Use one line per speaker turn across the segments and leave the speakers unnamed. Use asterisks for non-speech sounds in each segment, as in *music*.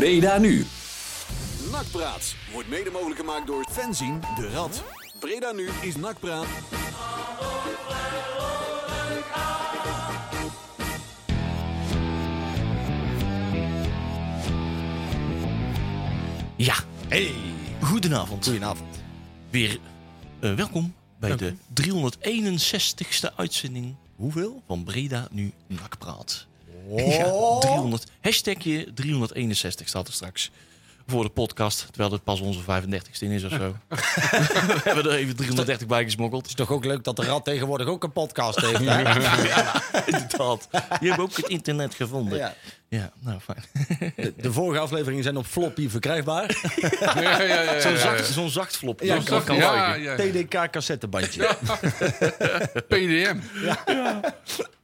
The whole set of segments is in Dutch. Breda nu.
Nakpraat wordt mede mogelijk gemaakt door Fenzin de Rad. Breda nu is Nakpraat.
Ja,
Hey,
goedenavond.
goedenavond.
Weer eh, welkom bij
Dank u.
de 361ste uitzending
Hoeveel?
van Breda Nu Nakpraat.
Ja,
300, hashtagje 361 staat er straks voor de podcast, terwijl dit pas onze 35ste in is of zo. We hebben er even 330 bij gesmokkeld.
Toch ook leuk dat de rat tegenwoordig ook een podcast heeft. Hè?
Inderdaad. Je hebt ook het internet gevonden.
Ja.
Ja, nou fijn.
De, de vorige afleveringen zijn op floppy verkrijgbaar.
Ja, ja, ja.
Zo'n zacht, zo'n zacht flop.
Ja,
Ja,
klopt.
dat kan ja.
ja, ja.
TDK cassettebandje.
PDM.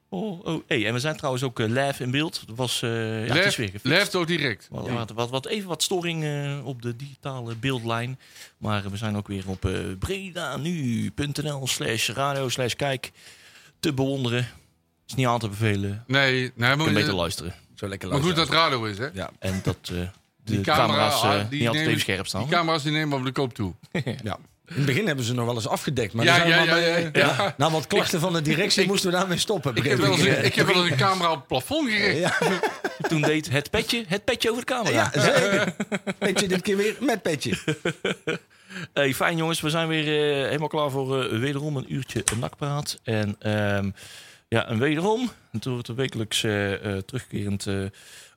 Oh, oh. Hey, en we zijn trouwens ook eh, live in beeld. Dat was eh ja, het is
Lef,
weer gefixt.
lef door direct.
Wat, wat, wat, wat- even wat storing eh, op de digitale beeldlijn. Maar eh, we zijn ook weer op eh bredanu.nl slash radio slash kijk te bewonderen. Is niet aan te bevelen.
Nee, nee
Je
maar,
kunt beter luisteren.
Zo lekker
maar goed
luisteren.
dat radio is, hè?
Ja,
En dat eh, de
Die camera,
camera's eh,
ah, die
niet altijd
nemen-
even scherp staan.
Die camera's die nemen op de koop toe.
ja. In het begin hebben ze nog wel eens afgedekt. Maar
Ja,
er zijn
ja,
maar
ja, *laughs*
bij- Ah,
ja, ja.
Na wat klachten van de directie moesten we daarmee stoppen.
Ik heb wel eens, ik heb wel eens een camera op het plafond gericht.
Ja.
Toen deed het petje het petje over de camera.
Ja, zeker. Petje dit keer weer met petje.
Hey, fijn jongens, we zijn weer eh, helemaal klaar voor eh, wederom een uurtje nakpraat. En ehm, ja, en wederom, het wordt een wekelijks eh, eh, terugkerend eh,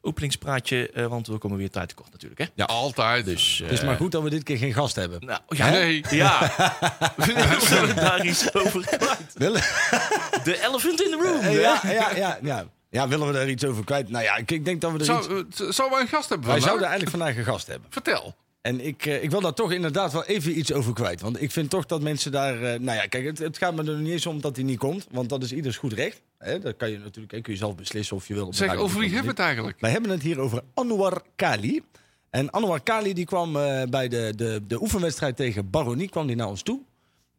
openingspraatje. eh, want we komen weer tijd tekort natuurlijk, hè?
Altijd.
Dus, eh,
Het is maar goed dat we dit keer geen gast hebben.
Nou, ja,
Nee.
ja. *laughs* we zullen daar iets over kwijt. De elephant in the room. hè?
Eh, Ja, ja, ja, ja. Ja, willen we daar iets over kwijt? Nou ja, ik, ik denk dat we er iets...
*laughs* Zou, eh, zou wij een gast hebben
Wij
vandaag?
zouden eigenlijk vandaag een gast hebben.
Vertel.
En ik, eh, ik wil daar toch inderdaad wel even iets over kwijt. Want ik vind toch dat mensen daar. eh, nou ja, kijk, het, het gaat me er niet eens om dat hij niet komt. Want dat is ieders goed recht. Hè? Dat kan je natuurlijk hè, kun je zelf beslissen of je wil. op de
Zeg,
radio
over wie
komen of
hebben we het eigenlijk?
niet. Wij hebben het hier over Anouar Kali. En Anouar Kali die kwam eh, bij de, de, de oefenwedstrijd tegen Baronie kwam die naar ons toe.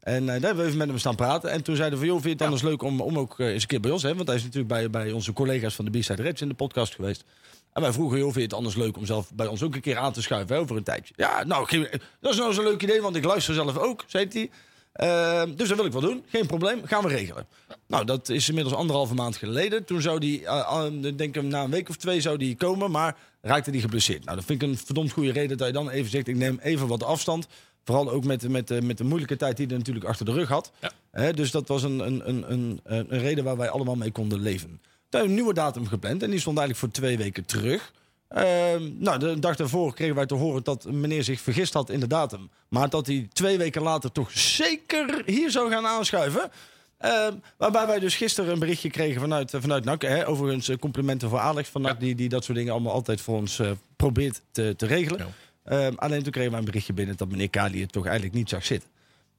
En eh, daar hebben we even met hem staan praten. En toen zeiden we: van, Joh, vind je het anders leuk om, om ook eh, eens een keer bij ons? Hè? Want hij is natuurlijk bij, bij onze collega's van de B-Side Raps in de podcast geweest. En wij vroegen, joh, vind je het anders leuk om zelf bij ons ook een keer aan te schuiven hè, over een tijdje? Ja, nou, geen- dat is nou zo'n leuk idee, want ik luister zelf ook, zei hij. Ehm, dus dat wil ik wel doen, geen probleem, gaan we regelen. Nou, dat is inmiddels anderhalve maand geleden. Toen zou die, eh, eh, ik denk ik na een week of twee zou die komen, maar raakte die geblesseerd. Nou, dat vind ik een verdomd goede reden dat je dan even zegt, ik neem even wat afstand. Vooral ook met, de- met, de- met de moeilijke tijd die hij natuurlijk achter de rug had. Hè, dus dat was een, een, een, een, een een reden waar wij allemaal mee konden leven. Toen hebben we een nieuwe datum gepland en die stond eigenlijk voor twee weken terug. Ehm, nou, de dag daarvoor kregen wij te horen dat meneer zich vergist had in de datum. Maar dat hij twee weken later toch zeker hier zou gaan aanschuiven. Ehm, waarbij wij dus gisteren een berichtje kregen vanuit, eh, vanuit NAC. Hè, overigens eh, complimenten voor Alex van NAC, die, die dat soort dingen allemaal altijd voor ons eh, probeert te, te regelen. Ehm, alleen toen kregen wij een berichtje binnen dat meneer Kali het toch eigenlijk niet zag zitten.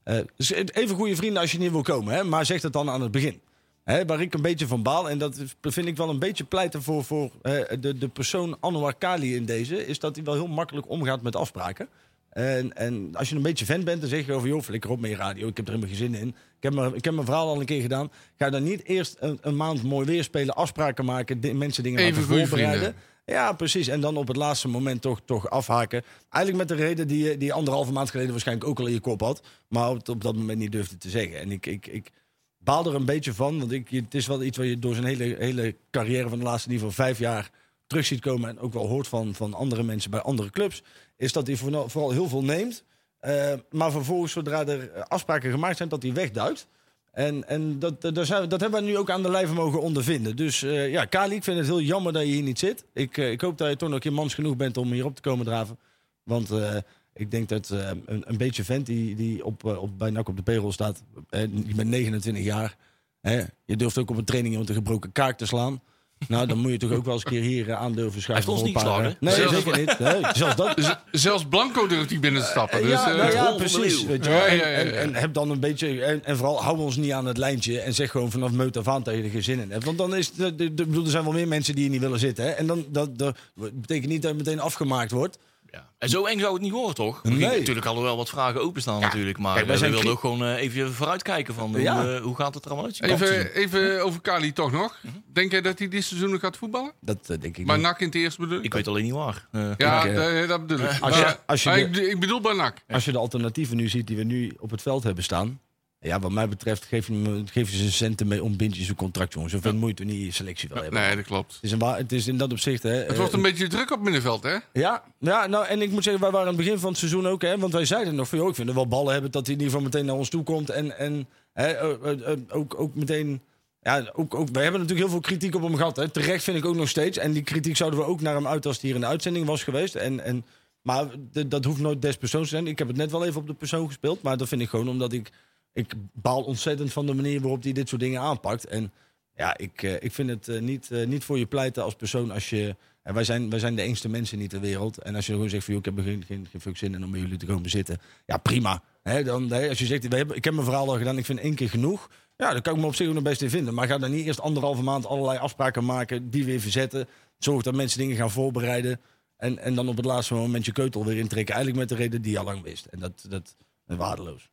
Eh, dus even goede vrienden als je niet wil komen, hè, maar zeg dat dan aan het begin. Hè, waar ik een beetje van baal, en dat is- vind ik wel een beetje pleiten voor, voor eh, de, de persoon Anwar Kali in deze, is dat hij wel heel makkelijk omgaat met afspraken. En, en als je een beetje fan bent, dan zeg je over, joh, flikker op met je radio, ik heb er helemaal geen zin in. Ik heb, mijn, ik heb mijn verhaal al een keer gedaan. Ga dan niet eerst een, een maand mooi weer spelen, afspraken maken, di- mensen dingen
Even
laten
goede
voorbereiden.
vrienden.
Ja, precies. En dan op het laatste moment toch, toch afhaken. Eigenlijk met de reden die je die je anderhalve maand geleden waarschijnlijk ook al in je kop had. Maar op, op dat moment niet durfde te zeggen. En ik, ik, ik baal er een beetje van. Want ik, het is wel iets wat je door zijn hele, hele carrière van de laatste in ieder geval vijf jaar terug ziet komen. En ook wel hoort van, van andere mensen bij andere clubs. Is dat hij vooral, vooral heel veel neemt. eh, maar vervolgens, zodra er eh, afspraken gemaakt zijn, dat hij wegduikt. En, en dat, dat, daar zijn we- dat hebben we nu ook aan de lijve mogen ondervinden. Dus eh, ja, Kali, ik vind het heel jammer dat je hier niet zit. Ik, eh, ik hoop dat je toch nog een keer mans genoeg bent om hier op te komen draven. Want eh, ik denk dat eh, een, een beetje vent die, die op, eh, op, bij NAC op de perel staat... eh, je bent 29 jaar, hè, je durft ook op een training met een gebroken kaak te slaan. Nou, dan moet je toch ook wel eens een keer hier eh, aan durven schuiven.
Hij heeft
voor
ons
een
niet
paar, eh,
geslagen,
Nee, zeker niet. Nee, zelfs
*laughs*
dat,
Z- Dus zelfs Blanco durft niet binnen te stappen. Dus,
ja,
eh,
nou ja,
hol van de
precies.
leeuw.
Weet je wel.
Ja,
en,
ja, ja,
en-
ja.
en heb dan een beetje. En, en vooral hou ons niet aan het lijntje. En zeg gewoon vanaf meut af aan dat je er geen zin in hebt. Want dan is. De, de, de- bedoel, er zijn wel meer mensen die hier niet willen zitten. Hè? En dan, dat, dat betekent niet dat je meteen afgemaakt wordt.
ja. En zo eng zou het niet worden, toch? We
Nee.
gingen Natuurlijk hadden we wel wat vragen openstaan natuurlijk. Maar
Kijk, wij
eh,
zijn
we wilden
cri-
ook gewoon eh, even vooruitkijken van hoe,
Ja.
eh, hoe gaat het er allemaal uitzien.
Even, even over Kali toch nog. Denk jij dat hij dit seizoen nog gaat voetballen?
Dat eh, denk Mhm. ik
Bij
niet.
NAC in het eerst bedoel
Ik weet alleen niet waar. Eh,
Ja,
Oké.
eh, dat bedoel ik.
Als je-
Maar-
als je
maar
de-
ik, bedoel- ik bedoel bij NAC.
Als je de alternatieven nu ziet die we nu op het veld hebben staan. Ja, wat mij betreft geef je, hem- geef je ze centen mee om bindjes een contract, jongens. Zoveel moeite niet je selectie wel hebben.
Nee, dat klopt.
Het, is een, wa- het is in dat opzicht... Hè,
Het wordt een beetje druk op middenveld, hè?
Ja, ja, nou en ik moet zeggen, wij waren aan het begin van het seizoen ook, hè, want wij zeiden nog van, joh, ik vind het wel ballen hebben dat hij in ieder geval meteen naar ons toe komt. En, en hè, eh, eh, eh, ook, ook meteen, ja, ook, ook, wij hebben natuurlijk heel veel kritiek op hem gehad. Hè. Terecht vind ik ook nog steeds. En die kritiek zouden we ook naar hem uit als hij hier in de uitzending was geweest. En, en, maar d- dat hoeft nooit des persoons te zijn. Ik heb het net wel even op de persoon gespeeld, maar dat vind ik gewoon omdat ik, ik baal ontzettend van de manier waarop hij dit soort dingen aanpakt. En ja, ik, eh, ik vind het eh, niet, eh, niet voor je pleiten als persoon als je... En wij zijn, wij zijn de engste mensen niet ter wereld. En als je gewoon zegt van, joh, ik heb er geen, geen, geen fuck zin in om bij jullie te komen zitten. Ja, prima. Hè, dan, hè, als je zegt, we hebben, ik heb mijn verhaal al gedaan, ik vind één keer genoeg. Ja, dan kan ik me op zich ook nog best in vinden. Maar ga dan niet eerst anderhalve maand allerlei afspraken maken die weer verzetten. Zorg dat mensen dingen gaan voorbereiden. En, en dan op het laatste moment je keutel weer intrekken. Eigenlijk met de reden die je al lang wist. En dat, dat is waardeloos.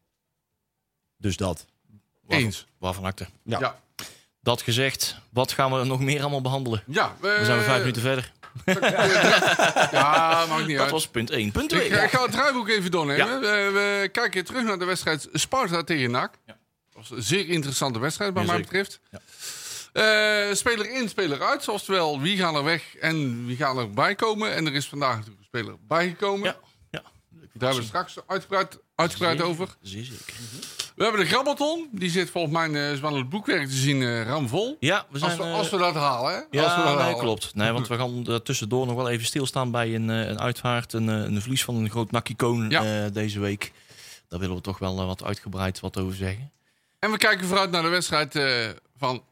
Dus dat.
waarvan-
Eens.
Waarvan acte.
Ja.
Ja.
Dat gezegd, wat gaan we nog meer allemaal behandelen?
Ja,
We zijn we vijf minuten verder.
Eh, Ja, maakt niet
*laughs* Dat
uit.
was punt 1. Punt
Ik,
2.
ga- ik ga het draaiboek even doornemen.
Ja.
We, we kijken terug naar de wedstrijd Sparta tegen NAC.
Ja.
Dat was een zeer interessante wedstrijd, wat
Ja,
mij
zeker.
betreft. Eh, speler in, speler uit. Oftewel, wie gaan er weg en wie gaan erbij komen. En er is vandaag natuurlijk een speler bijgekomen.
Ja, ja.
Daar hebben we straks uitgebreid, uitgebreid over.
Zeer zeker.
We hebben de Grabbelton. Die zit volgens mij eh, is wel aan het boekwerk te zien eh ramvol.
Ja, we zijn...
als, we,
eh,
als we dat halen, hè? als we Oh.
Ja,
dat
nee,
halen.
klopt. Nee, want we gaan eh, tussendoor nog wel even stilstaan bij een, eh, een uitvaart. Een, eh, een verlies van een groot nakkicoon
Ja.
eh, deze week. Daar willen we toch wel eh, wat uitgebreid wat over zeggen.
En we kijken vooruit naar de wedstrijd eh, van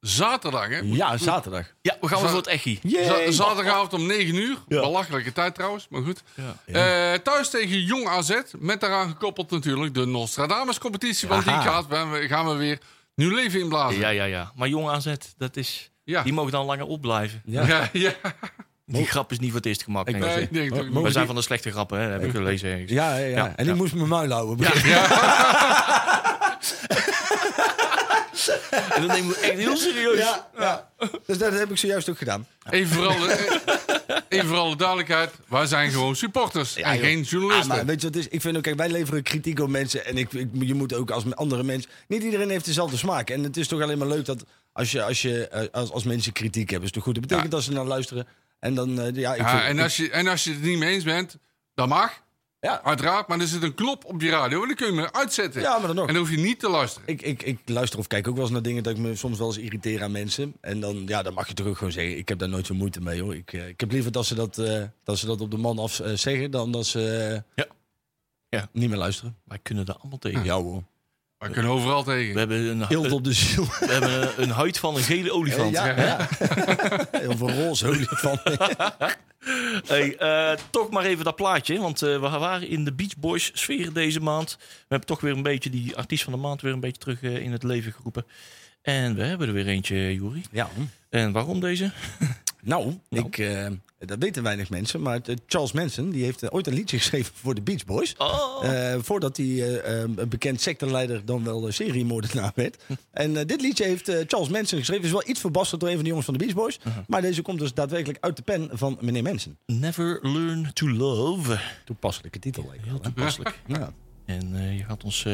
zaterdag. Hè?
Ja, zaterdag.
Ja, we gaan
Zal-
weer voor het echi.
Z- Zaterdagavond om 9 uur.
Ja.
Belachelijke tijd trouwens, maar goed.
Ja.
Eh, thuis tegen Jong AZ. Met daaraan gekoppeld natuurlijk de Nostradamus-competitie. Want die
Aha.
gaat, gaan we- gaan we weer nieuw leven inblazen.
Ja, ja, ja. Maar jong AZ, dat is,
Eh, Ja.
die mogen dan langer opblijven.
Ja.
ja, ja.
Die grap is niet voor het eerst gemaakt.
Ik
denk
Nee,
ik.
ik denk het ook
Mo-
niet.
we zijn van de slechte grappen, hè, heb ik gelezen. ergens.
Ja, ja, ja.
Ja,
en ik
ja.
moest mijn muil houden.
En dat nemen we echt heel serieus.
Ja, ja. *laughs* Dus dat heb ik zojuist ook gedaan.
Even voor, alle, eh, even voor alle duidelijkheid. Wij zijn gewoon supporters en
joh.
geen
Ah,
journalisten.
maar weet je wat het is? Ik vind ook, kijk, wij leveren kritiek op mensen. En ik, ik, je moet ook als andere mensen... Niet iedereen heeft dezelfde smaak. En het is toch alleen maar leuk dat als, je, als, je, eh, als, als mensen kritiek hebben. is toch goed? Dat betekent dat ze naar luisteren. En dan, eh, ja, ik
Ja,
vind-
en,
ik-
als je, en als je het niet mee eens bent, dan mag.
Ja.
Uiteraard, maar er zit een knop op je radio en dan kun je hem uitzetten.
Ja, maar dan nog.
En dan hoef je niet te luisteren.
Ik, ik, ik luister of kijk ook wel eens naar dingen dat ik me soms wel eens irriteer aan mensen. En dan, ja, dan mag je toch ook gewoon zeggen, ik heb daar nooit zo moeite mee hoor. Ik, eh, ik heb liever dat ze dat, eh, dat ze dat op de man af eh, zeggen dan dat ze eh,
Ja. Ja.
niet meer luisteren.
Wij kunnen daar allemaal tegen.
Ja hoor.
We kunnen overal tegen.
We, hebben een,
Eh,
Heel
we
op de ziel.
hebben een huid van een gele olifant.
ja, ja. Heel veel roze olifant.
Hey, eh, toch maar even dat plaatje, want eh, we waren in de Beach Boys sfeer deze maand. We hebben toch weer een beetje die artiest van de maand weer een beetje terug eh, in het leven geroepen. En we hebben er weer eentje, Juri.
Ja.
En waarom deze?
Nou,
Nou.
Ik, eh, dat weten weinig mensen, maar eh, Charles Manson die heeft eh, ooit een liedje *laughs* geschreven voor de Beach Boys.
Oh,
Eh, voordat hij eh, eh, een bekend sectorleider dan wel eh, seriemoordenaar werd. En eh, dit liedje heeft eh, Charles Manson geschreven. Is wel iets verbasterd door een van de jongens van de Beach Boys. Maar deze komt dus daadwerkelijk uit de pen van meneer Manson.
Never Learn to Love.
Toepasselijke titel. lijkt me wel, hè?
Toepasselijk.
Ja.
En eh, je gaat ons eh,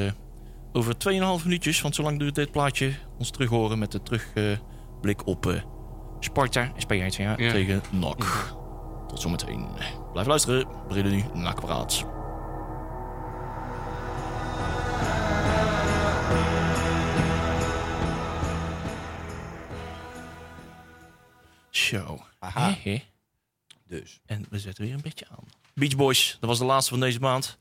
over 2,5 minuutjes, want zo lang duurt dit plaatje, ons terug horen met de terugblik op eh, Sparta, SPJTA
Ja.
tegen NOC. Tot zometeen. Blijf luisteren, Brede nu, NAC praat. Zo.
Aha.
Hè, hè.
Dus.
En we zetten weer een beetje aan. Beach Boys, dat was de laatste van deze maand.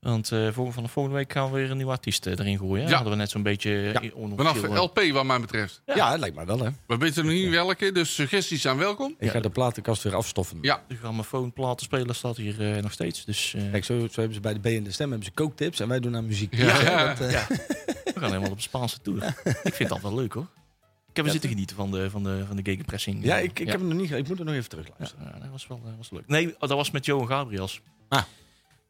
Want eh, voor, vanaf volgende week gaan we weer een nieuwe artiest eh, erin gooien. hè?
Ja.
Hadden we net zo'n beetje... eh,
Ja.
Vanaf
onofficieel, eh,
LP, wat mij betreft.
Ja. het lijkt mij wel hè.
We weten nog niet welke, dus suggesties zijn welkom.
Ik ga de platenkast weer afstoffen.
Ja.
eh, De grammofoonplatenspeler staat hier eh, nog steeds. Dus eh,
Kijk, zo, zo hebben ze bij de B en de Stem hebben ze kooktips en wij doen aan muziek.
Ja.
hè, dat, eh,
we gaan helemaal op Spaanse tour. Ik vind dat wel leuk hoor. Ik heb er zitten genieten van de, van de, van de gegenpressing.
Ja,
Eh,
ik, ik heb hem nog niet. ge- Ik moet er nog even terug
Ja,
luisteren.
ja, dat was wel eh, was leuk. Nee, oh, dat was met Johan Gabriels.
Ah.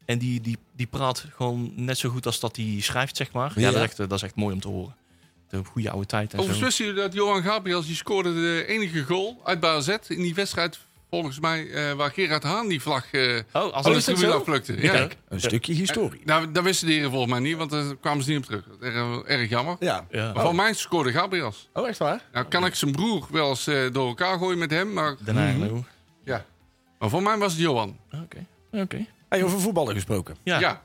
En die, die, die praat gewoon net zo goed als dat hij schrijft, zeg maar. Ja,
Ja.
Dat, is echt, eh, dat is echt mooi om te horen. De goede oude tijd en
Overigens
zo.
wisten jullie dat Johan Gabriels die scoorde de enige goal uit bij AZ in die wedstrijd volgens mij eh, waar Gerard Haan die vlag eh
Oh, als
van
oh,
de
is dat
tribune
zo?
afplukte.
Ja.
Ja.
Kijk.
Een stukje historie.
Daar, daar wisten de heren volgens mij niet, want daar kwamen ze niet op terug. Dat is erg, erg jammer.
Ja.
Ja.
Maar Oh. Van mij scoorde Gabriels.
Oh, echt waar?
Nou kan ik zijn broer wel eens eh, door elkaar gooien met hem, maar,
Mhm.
Daarna, nou.
ja. maar voor mij was het Johan.
Ah, Oké. Oké.
Hey, over voetballen gesproken.
Ja.
Ja,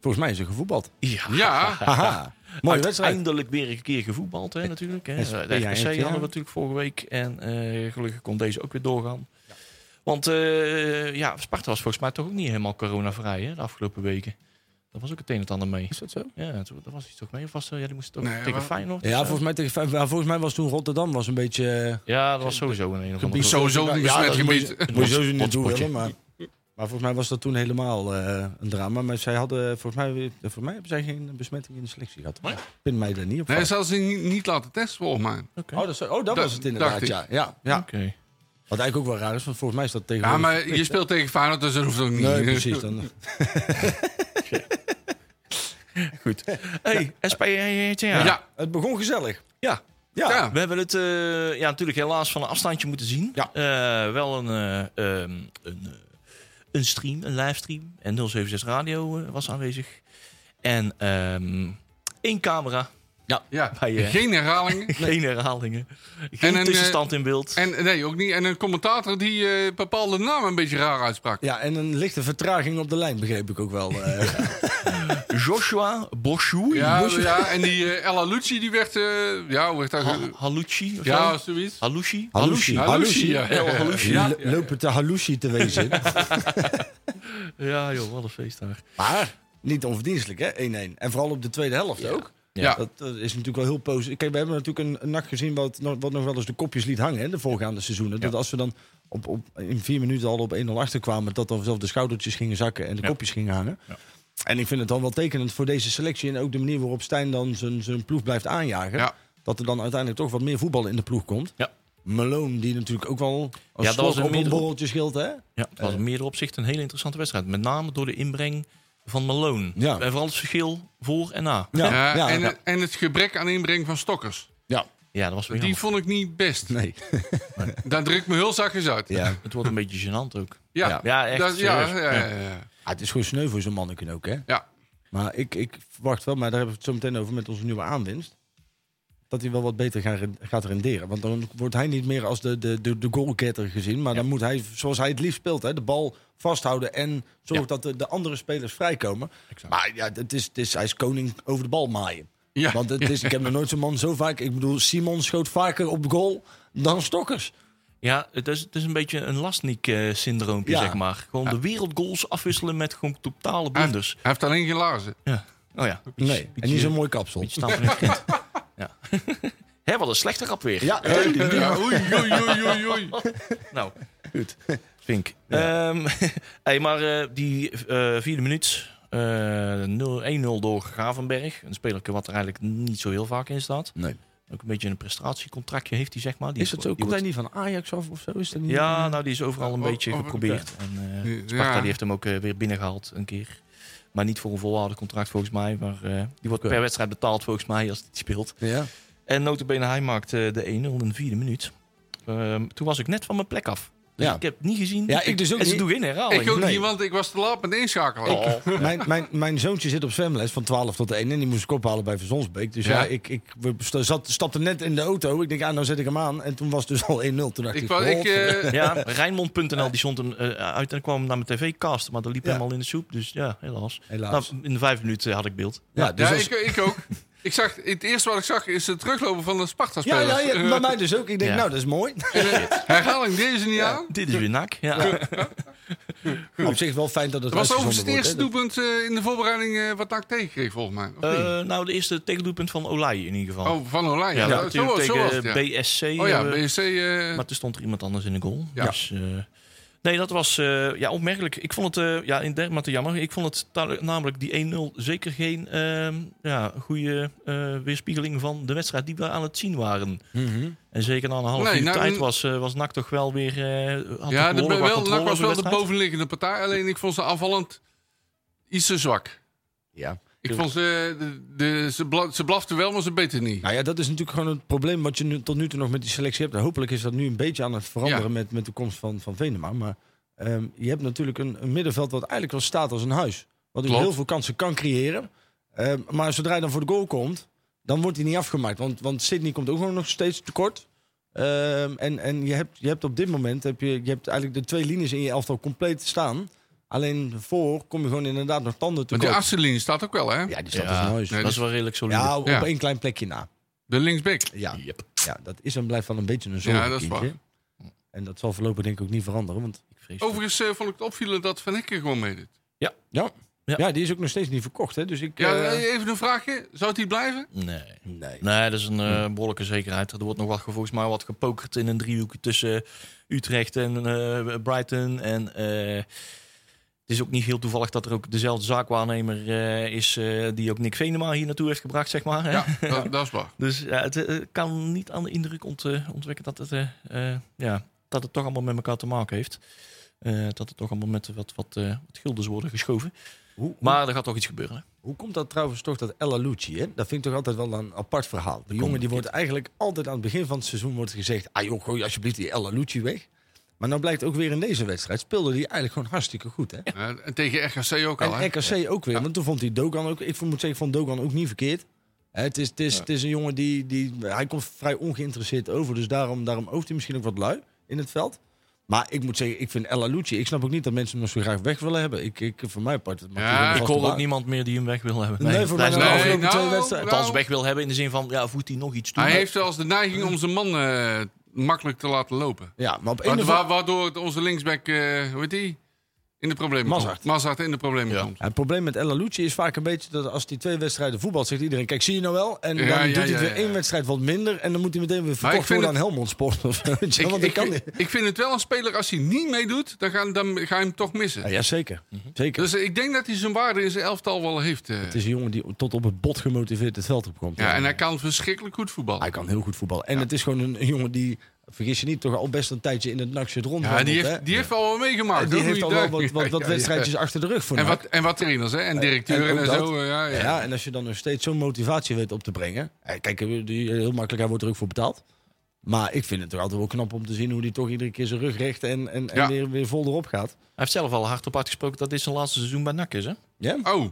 Volgens mij is er gevoetbald.
Ja.
ja.
Haha. Mooie wedstrijd.
Eindelijk weer een keer gevoetbald, hè, natuurlijk. Hè. Eh,
SP,
De
ja,
RKC
ja.
hadden we natuurlijk vorige week. En eh, gelukkig kon deze ook weer doorgaan. Want eh, ja, Sparta was volgens mij toch ook niet helemaal coronavrij hè, de afgelopen weken. Dat was ook het een en het ander mee.
Is dat zo?
Ja, toen- daar was iets toch mee. Of was, er- ja, die moest toch
Nee,
tegen
maar-
Feyenoord? of
Ja,
zo?
volgens mij, tegen, vijf- ja, volgens mij was toen Rotterdam was een beetje... eh,
ja, dat was sowieso een een of
Gebied-
andere...
Sowieso een besmet
dat moet je-
gebied.
Moet je sowieso niet doen
Hotspotje.
willen, maar... Maar volgens mij was dat toen helemaal eh, een drama. Maar zij hadden, volgens mij, volgens mij hebben zij geen besmetting in de selectie gehad.
Nee?
Pin mij daar niet op
Nee,
vast.
ze hadden ze niet, niet laten testen volgens mij.
Oké.
Oh, dat, is- oh, dat
Da-
was het inderdaad,
dacht
ja. ja, ja.
Oké.
Wat eigenlijk ook wel raar is, want volgens mij is dat tegen...
Ja, maar je speelt tegen Feyenoord, dus dat hoeft ook niet. *laughs*
Nee, precies. Dan,
Goed. Hey, SP, ja.
Ja,
Ja.
ja.
het begon gezellig.
ja.
Ja.
Ja.
We hebben het eh, ja, natuurlijk helaas van een afstandje moeten zien.
Ja.
Eh, wel een, eh, ehm, een, eh, een stream, een livestream. En 076 Radio eh, was aanwezig. En ehm, één
*laughs*
camera, Bij, eh,
geen herhalingen.
geen herhalingen. Geen
En een, eh,
tussenstand in beeld.
En eh, nee, ook niet. En een commentator die eh, bepaalde namen een beetje raar uitsprak.
Ja, en een lichte vertraging op de lijn begreep ik ook wel. eh.
Joshua Boschou.
Ja, ja, en die eh, Ella Lucci die werd, eh, ja, hoe werd dat?
Ha-
ge-
Halucci of
ja,
Ah, zo?
zoiets.
Halucci?
Halucci.
Halucci, ja.
El Halucci.
Ja.
L- Lopen te halucie te wezen.
Ja joh, wat een feest daar.
maar niet onverdienstelijk, hè? 1-1. En vooral op de tweede helft ook.
Ja.
Dat, eh, is natuurlijk wel heel positief. Kijk, we hebben natuurlijk een, een nacht gezien wat, nog- wat nog wel eens de kopjes liet hangen hè, de voorgaande seizoenen. Dat als we dan op, op, in vier minuten al op 1-0 achterkwamen, dat dan zelf de schoudertjes gingen zakken en de
Ja.
kopjes gingen hangen.
Ja.
En ik vind het dan wel tekenend voor deze selectie en ook de manier waarop Stijn dan zijn, zijn ploeg blijft aanjagen.
Ja.
Dat er dan uiteindelijk toch wat meer voetbal in de ploeg komt.
Ja.
Malone, die natuurlijk ook wel als
Ja, dat
slok
was een
op een
meerdere-
borreltje scheelt, hè?
Ja, het was
Eh.
in meerdere opzichten een hele interessante wedstrijd. Met name door de inbreng van Malone.
Ja.
En vooral het verschil voor en na.
Ja,
Ja,
ja,
en, eh,
ja.
en het gebrek aan inbreng van stokkers.
Ja, dat was weer
Die vond ik niet best.
Nee.
Daar drukt me heel zachtjes uit.
Ja.
Het wordt een beetje gênant ook.
Ja,
Ja, ja, echt,
Dat- ja,
serieus.
ja, ja,
Ja.
ja.
Ah, het is gewoon sneu voor zo'n manneken ook, hè?
Ja.
Maar ik, ik verwacht wel, maar daar hebben we het zo meteen over met onze nieuwe aanwinst. Dat hij wel wat beter gaat ren- gaat renderen. Want dan wordt hij niet meer als de, de, de, de goalgetter gezien. Maar dan moet hij, zoals hij het liefst speelt, hè, de bal vasthouden. En zorgt
Ja.
dat de, de andere spelers vrijkomen.
Exact.
Maar ja, het is, het is, hij is koning over de bal maaien.
Ja.
Want het is, ik heb nog nooit zo'n man zo vaak... Ik bedoel, Simon schoot vaker op goal dan Stokkers.
Ja, het is, het is een beetje een Lasnik-syndroompje,
Ja.
zeg maar. Gewoon de wereldgoals afwisselen met gewoon totale
Hij, heeft-
blunders.
hij heeft alleen geen laarzen.
Ja. Oh ja.
Nee, en niet zo'n mooi kapsel.
Beetje stampen in het kind. *laughs* Ja. Hé, wat een slechte rap weer.
Ja,
Ja, oei, oei, oei, oei,
*laughs*
oei.
Nou, goed. Vink. Ehm, *laughs* hey, maar eh, die eh, vierde minuut, eh, 0 1-0 door Gravenberg. Een speler wat er eigenlijk niet zo heel vaak in staat.
Nee.
Ook een beetje een prestatiecontractje heeft hij, zeg maar. Die
Is dat zo?
die
Komt hij
wordt-
niet van Ajax af of zo? Is dat niet
Ja, nou, die is overal een
Oh,
beetje
oh,
geprobeerd. En, eh,
Ja.
Sparta die heeft hem ook eh, weer binnengehaald een keer. Maar niet voor een volwaardig contract volgens mij. Maar eh, die wordt
Oké.
per wedstrijd betaald volgens mij als hij speelt.
Ja.
En notabene hij maakt eh, de 1-0 in de vierde minuut. Ehm, toen was ik net van mijn plek af. Dus
Ja.
ik heb het niet gezien.
Ja, ik dus ook
en ze
niet.
doen geen herhaling.
Ik ook
Nee.
niet, want ik was te laat met inschakelen.
Oh, *laughs* Mijn, mijn, mijn zoontje zit op zwemles van 12 tot 1 en die moest ik ophalen bij Verzonsbeek. Dus ja,
Ja.
ik, ik we sta- zat, stapte net in de auto. Ik denk, ah, nou zet ik hem aan. En toen was het dus al 1-0. Toen dacht ik,
Ik, wou- ik,
godver-
eh,
*laughs* Ja, Rijnmond.nl die zond hem eh, uit en kwam naar mijn tv-cast. Maar dat liep
Ja.
helemaal in de soep. Dus ja, helaas.
helaas.
Nou, in de vijf minuten had ik beeld.
ja, dus
ja,
als-
ik, ik ook. Ik zag, het eerste wat ik zag is het teruglopen van de
ja,
Sparta-spelers. Eh,
ja, ja, bij mij dus ook. Ik denk,
Ja.
nou, dat is mooi.
Herhaling deze niet aan.
Dit is weer nak. Ja.
op zich wel fijn dat het
Het
uitgezonden
was overigens
wordt,
het
hè.
eerste doelpunt eh, in de voorbereiding eh, wat ik tegenkreeg, volgens mij. Of niet?
Eh, nou, de eerste tegendoelpunt van Olij in ieder geval.
oh, van Oranje.
ja,
Ja,
dat
zo,
natuurlijk
was- zo was
tegen eh,
het, ja.
BSC.
Oh ja,
hebben we-
BSC. eh,
Maar toen stond er iemand anders in de goal.
Ja.
Dus, eh, Nee, dat was eh, ja, opmerkelijk. Ik vond het eh ja, in dermate jammer. Ik vond het ta- namelijk die 1-0 zeker geen ehm, ja, goede eh, weerspiegeling van de wedstrijd die we aan het zien waren. En zeker na een half
Mhm. Nee,
uur
nou,
tijd
mm.
was, eh, was NAC toch wel weer... eh had
ja,
de,
de,
behoorlijk wat
wel,
controle
NAC was
over
wel de
wedstrijd.
bovenliggende partij. Alleen ik vond ze aanvallend iets te zwak.
Ja.
Ik vond ze, de, de- ze, bla, ze blaften wel, maar ze beten niet.
Nou ja, dat is natuurlijk gewoon het probleem wat je nu, tot nu toe nog met die selectie hebt. En hopelijk is dat nu een beetje aan het veranderen
Ja.
met, met de komst van, van Venema. Maar ehm, je hebt natuurlijk een, een middenveld wat eigenlijk wel staat als een huis. Wat dus
Klopt.
heel veel kansen kan creëren. Ehm, maar zodra hij dan voor de goal komt, dan wordt hij niet afgemaakt. Want, want Sydney komt ook gewoon nog steeds tekort. Ehm, en en je, hebt, je hebt op dit moment heb je, je hebt eigenlijk de twee linies in je elftal compleet staan. Alleen voor kom je gewoon inderdaad nog tanden
Maar die
tekort.
achterlinie staat ook wel, hè?
Ja, die staat
Ja,
als een huis.
Nee,
Dat is wel redelijk solide.
Ja, op
Ja.
één klein plekje na.
De linksback.
Ja.
Yep.
Ja, dat is en blijft wel een beetje een zorg.
Ja, dat is
En dat zal voorlopig denk ik ook niet veranderen. Want
Ik vrees het.
Overigens eh, vond ik het opvielen dat Van Hekken gewoon meedeed.
ja,
Ja.
ja. die is ook nog steeds niet verkocht. Hè? Dus ik,
Ja,
eh,
even een vraagje. Zou die blijven?
Nee.
nee.
Nee, dat is een eh behoorlijke zekerheid. Er wordt nog wat, volgens mij wat gepokerd in een driehoek tussen Utrecht en eh, Brighton. En eh, het is ook niet heel toevallig dat er ook dezelfde zaakwaarnemer eh, is eh, die ook Nick Venema hier naartoe heeft gebracht, zeg maar. hè.
Ja, dat, dat is waar.
Dus ja, het eh, kan niet aan de indruk ont, eh, ontwekken dat het, eh, eh, ja, dat het toch allemaal met elkaar te maken heeft. Eh, dat het toch allemaal met wat, wat, eh, wat guldens worden geschoven.
Hoe, hoe,
Maar er gaat toch iets gebeuren. hè?
hoe komt dat trouwens toch dat Ella Lucci? Hè? Dat vind ik toch altijd wel een apart verhaal. Die jongen die wordt eigenlijk altijd aan het begin van het seizoen wordt gezegd... Ah joh, gooi alsjeblieft die Ella Lucci weg. Maar nou blijkt ook weer in deze wedstrijd speelde hij eigenlijk gewoon hartstikke goed. Hè?
Ja, en tegen RKC ook al, hè?
En RKC ook weer, want toen vond hij Dogan ook... Ik moet zeggen, ik vond Dogan ook niet verkeerd. Hè, Het is, het is, het is een jongen die, die... Hij komt vrij ongeïnteresseerd over, dus daarom, daarom oogt hij misschien ook wat lui in het veld. Maar ik moet zeggen, ik vind El Alouci... Ik snap ook niet dat mensen hem nog zo graag weg willen hebben. Ik, ik voor mijn part... mag hij
Ja,
gewoon
Ik
ik
vast
hoor
de
ook
baan.
niemand meer die hem weg wil hebben.
Nee, voor mij de
blijft wel-
wel- Nee,
afgelopen twee
nou,
wedstrijden.
nou,
althans weg wil hebben in de zin van, ja, voert hij nog iets toe?
Hij heeft zelfs de neiging om zijn man eh, makkelijk te laten lopen.
Ja, maar op een
Wa-
of
wa-
andere...
waardoor het onze linksback, eh, hoe heet die? In de problemen
Mazart.
komt. Mazart in de problemen
Ja.
komt.
Ja, Het probleem met El Alouci is vaak een beetje dat als die twee wedstrijden voetbalt... zegt iedereen, kijk, zie je nou wel? En
Ja,
dan
ja,
doet hij
ja,
weer
ja.
één wedstrijd wat minder... en dan moet hij meteen weer verkocht
vind
worden aan Helmond Sport. of zo, weet je wel, Oh, Want ik kan niet.
ik vind het wel een speler, als hij niet meedoet, dan ga, dan ga je hem toch missen.
Ja, zeker. Zeker.
Dus ik denk dat hij zijn waarde in zijn elftal wel heeft. eh.
Het is een jongen die tot op het bot gemotiveerd het veld opkomt.
Ja, en hij kan verschrikkelijk goed voetballen.
Hij kan heel goed voetballen. En het is gewoon een, een jongen die, vergis je niet, toch al best een tijdje in het nakje rond.
Ja, die heeft, die heeft al wel meegemaakt. hoor, hoe je
al wel
daar-
wat, wat, wat
*laughs* Ja, ja,
wedstrijdjes achter de rug voor.
En
NAC.
wat, en wat trainers, hè? En
en
directeuren
ook
en,
dat.
zo. eh, Ja, ja.
ja, en als je dan nog steeds zo'n motivatie weet op te brengen. eh, Kijk, eh, die, heel makkelijk, hij wordt er ook voor betaald. Maar ik vind het toch altijd wel knap om te zien hoe die toch iedere keer zijn rug recht en, en, en
Ja.
weer, weer vol erop gaat.
Hij heeft zelf al hardop uitgesproken dat dit zijn laatste seizoen bij NAC is. Hè?
Ja?
Oh,